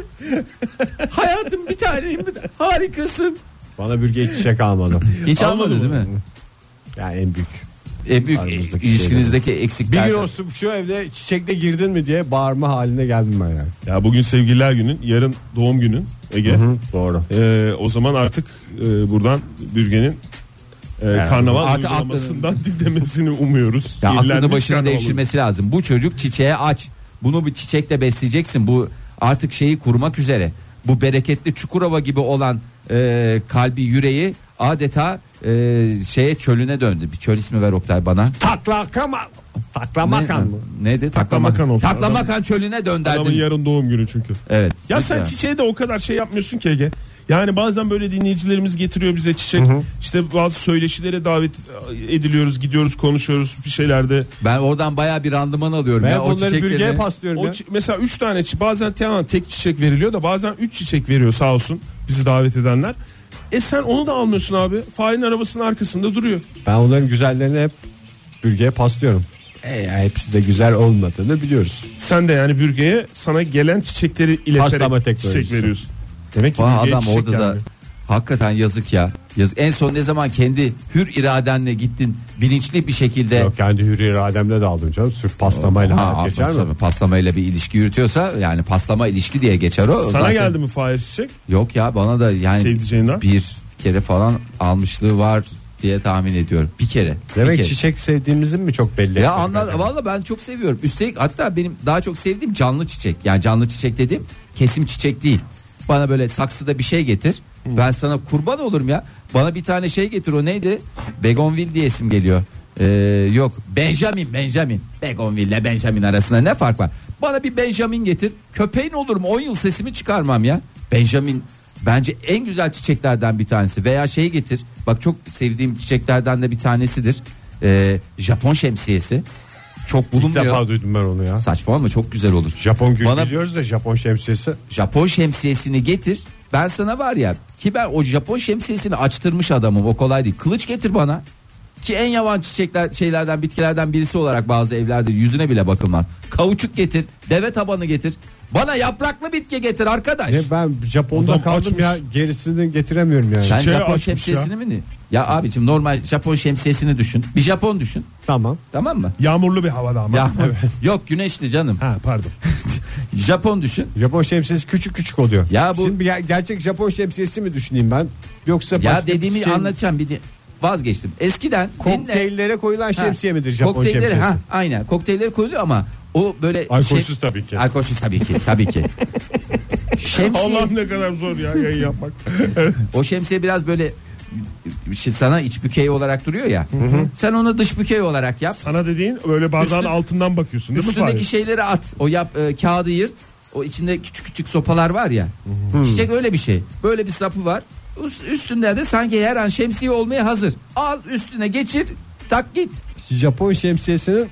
Hayatım bir tanem bir- harikasın.
Bana bürge hiç çiçek almadı.
Hiç
Almadı
almadı
mı?
değil mi?
Yani en büyük.
En büyük
Aramızdaki
E, ilişkinizdeki
Bir
eksikler.
gün olsun şu evde çiçekle girdin mi diye bağırma haline geldim ben yani.
Ya bugün sevgililer günün, yarın doğum günün Ege.
Doğru.
E, o zaman artık e, buradan Bürge'nin e, karnaval
artık
uygulamasından *laughs* dinlemesini umuyoruz.
ya aklını
İllenmiş
başına
karnaval
devşirmesi lazım. Bu çocuk çiçeğe aç. Bunu bir çiçekle besleyeceksin. Bu artık şeyi kurmak üzere. Bu bereketli Çukurova gibi olan e, kalbi yüreği adeta e, şeye çölüne döndü. Bir çöl ismi ver Oktay bana.
Taklakama. Taklamakan mı?
Ne, neydi?
Taklamakan olsun.
Taklamakan çölüne
Adamın
dönderdin.
yarın doğum günü çünkü.
Evet.
Ya
Mesela.
sen çiçeğe de o kadar şey yapmıyorsun ki Ege. Yani bazen böyle dinleyicilerimiz getiriyor bize çiçek. İşte bazı söyleşilere davet ediliyoruz, gidiyoruz, konuşuyoruz bir şeylerde.
Ben oradan baya bir randıman alıyorum
Ben
ya o
bunları bürgeye
çiçekleri.
paslıyorum
O
ya.
çi- mesela 3 tane çi- bazen tamam tek çiçek veriliyor da bazen 3 çiçek veriyor sağ olsun bizi davet edenler. E sen onu da almıyorsun abi. Farenin arabasının arkasında duruyor.
Ben onların güzellerini hep bürgeye paslıyorum. E, ya hepsi de güzel olmadığını biliyoruz.
Sen de yani bürgeye sana gelen çiçekleri
Paslama
ileterek
teknolojisi.
çiçek veriyorsun. Demek ki
Vay
bürgeye
adam
çiçek
orada da
gelmiyor.
hakikaten yazık ya. Yazık. En son ne zaman kendi hür iradenle gittin bilinçli bir şekilde
Yok kendi hür irademle de aldım canım. Sırf paslamayla
Ha,
hayat geçer mi?
aslında paslamayla bir ilişki yürütüyorsa yani paslama ilişki diye geçer o.
Sana
Zaten-
geldi mi Fahir çiçek?
Yok ya bana da yani
Sevdiceğinden?
bir kere falan almışlığı var diye tahmin ediyorum. Bir kere. bir
Demek
kere.
çiçek sevdiğimizin mi çok belli?
Ya
etmek
anla
lazım?
valla ben çok seviyorum. Üstelik hatta benim daha çok sevdiğim canlı çiçek. Yani canlı çiçek dediğim kesim çiçek değil. Bana böyle saksıda bir şey getir. Ben sana kurban olurum ya. Bana bir tane şey getir o neydi? Begonvil diye isim geliyor. Ee, yok Benjamin Benjamin Begonville ile Benjamin arasında ne fark var Bana bir Benjamin getir Köpeğin olurum 10 yıl sesimi çıkarmam ya Benjamin bence en güzel çiçeklerden bir tanesi Veya şey getir Bak çok sevdiğim çiçeklerden de bir tanesidir ee, Japon şemsiyesi çok
İlk defa
bulunmuyor.
duydum ben onu ya.
Saçma ama çok güzel olur.
Japon gülü
Bana-
biliyoruz da Japon şemsiyesi.
Japon şemsiyesini getir. Ben sana var ya ki ben o Japon şemsiyesini açtırmış adamım o kolay değil. Kılıç getir bana. Ki en yavan çiçekler şeylerden bitkilerden birisi olarak bazı evlerde yüzüne bile bakılmaz. Kavuçuk getir, deve tabanı getir. Bana yapraklı bitki getir arkadaş.
Ne ben Japon'da
Adam
kaldım
açmış.
ya gerisini getiremiyorum yani.
Sen
çiçeği
Japon
açmış ya.
şemsiyesini mi? ne- Ya abicim normal Japon şemsiyesini düşün. Bir Japon düşün.
Tamam.
Tamam mı?
Yağmurlu bir havada ama.
Ya yok güneşli canım.
Ha
*laughs*
pardon.
Japon düşün.
Japon şemsiyesi küçük küçük oluyor.
Ya bu-
Şimdi bir ger- gerçek Japon şemsiyesi mi düşüneyim ben? Yoksa
Ya
başka bir
dediğimi
şey-
anlatacağım bir de vazgeçtim. Eskiden dinle-
Kokteyllere koyulan şemsiye midir Japon
kokteylleri-
şemsiyesi?
Ha, aynen kokteylleri koyuluyor ama o böyle şey-
Alkolsüz tabii ki.
Alkolsüz tabii ki tabii ki. şemsiye
Allah'ım ne kadar zor ya yayın yapmak.
o şemsiye biraz böyle işte sana iç bükey olarak duruyor ya. Sen onu dış bükey olarak yap.
Sana dediğin böyle bazen
Üstün-
altından bakıyorsun değil mi
Üstündeki
Fahir?
şeyleri at. O yap e, kağıdı yırt. O içinde küçük küçük sopalar var ya. Çiçek öyle bir şey. Böyle bir sapı var. Üst- Üstünde de sanki her an şemsiye olmaya hazır. Al üstüne geçir. Tak git.
Japon şemsiyesinin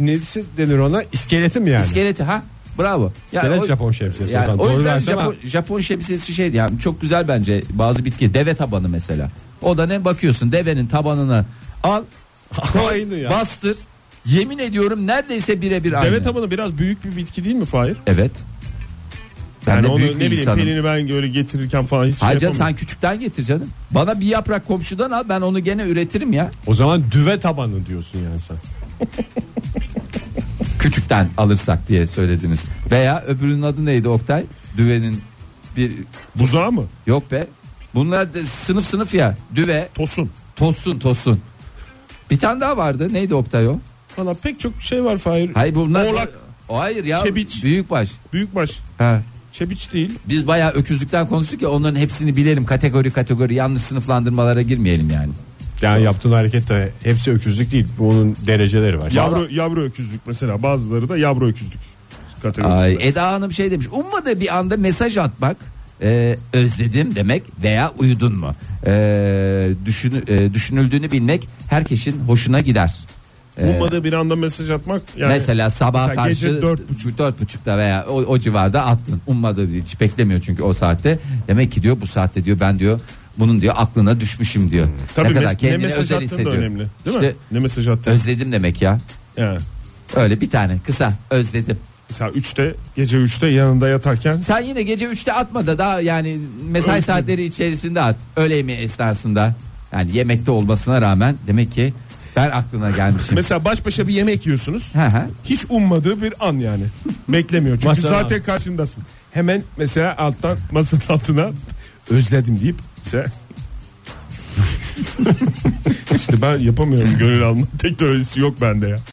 nesi denir ona? İskeleti
Hani.
mi yani?
İskeleti ha. Bravo. Ya
İskelet
o-
Japon şemsiyesi.
yani
zaman.
o
Doğru
yüzden
versiyon ama
Japon, Japon şemsiyesi şeydi yani çok güzel bence bazı bitki deve tabanı mesela. O da ne bakıyorsun devenin tabanını al
Aynı ya.
bastır yemin ediyorum neredeyse birebir aynı.
Deve tabanı biraz büyük bir bitki değil mi Fahir?
Evet. Ben
yani
de
onu
büyük
ne
bir
bileyim
insanım.
pilini ben böyle getirirken falan hiç
Hayır
şey
canım sen
yapamıyorum.
küçükten getir canım. Bana bir yaprak komşudan al ben onu gene üretirim ya.
O zaman düve tabanı diyorsun yani sen.
küçükten alırsak diye söylediniz. Veya öbürünün adı neydi Oktay? Düvenin bir
Buzağı mı?
yok be. Bunlar da sınıf sınıf ya. Düve,
Tosun.
tosun, tosun. Bir tane daha vardı. Neydi Oktay o?
Valla pek çok şey var Fahir.
Hayır bunlar
Oğlak.
O hayır ya.
Çebiç.
Büyükbaş.
Büyükbaş.
Ha.
Çebiç değil.
Biz bayağı öküzlükten konuştuk ya onların hepsini bilelim kategori kategori yanlış sınıflandırmalara girmeyelim yani.
Yani yaptığın hareket de hepsi öküzlük değil. Bunun dereceleri var.
Yavru, yavru öküzlük mesela. Bazıları da yavru öküzlük kategorisinde.
Ay, Eda Hanım şey demiş ummadı bir anda mesaj atmak e, özledim demek veya uyudun mu E, düşünü, e, düşünüldüğünü bilmek herkesin hoşuna gider.
Ummadığı E, bir anda mesaj atmak. Yani
mesela sabah
mesela
karşı
gece dört
4.30'da veya o, o civarda attın. Ummadı bir- hiç beklemiyor çünkü o saatte. Demek ki diyor bu saatte diyor ben diyor bunun diyor aklına düşmüşüm diyor.
Hmm. Tabii
ne kadar
mes- ne
kendini
mesaj
özel
attığın da
hissediyor.
önemli. Değil mi?
İşte
Ne mesaj attığın.
özledim demek ya.
yani.
Öyle bir tane kısa özledim.
Mesela 3'te gece 3'te yanında yatarken
Sen yine gece 3'te atma da daha yani mesai
Öyle.
saatleri içerisinde at. Öğle yemeği esnasında. Yani yemekte olmasına rağmen demek ki ben aklına gelmişim.
mesela baş başa bir yemek yiyorsunuz.
Hı hı.
Hiç ummadığı bir an yani. Beklemiyor. Çünkü
Masanın
zaten karşındasın. Hemen mesela alttan masanın altına özledim deyip sen *laughs* işte ben yapamıyorum gönül alma teknolojisi yok bende ya.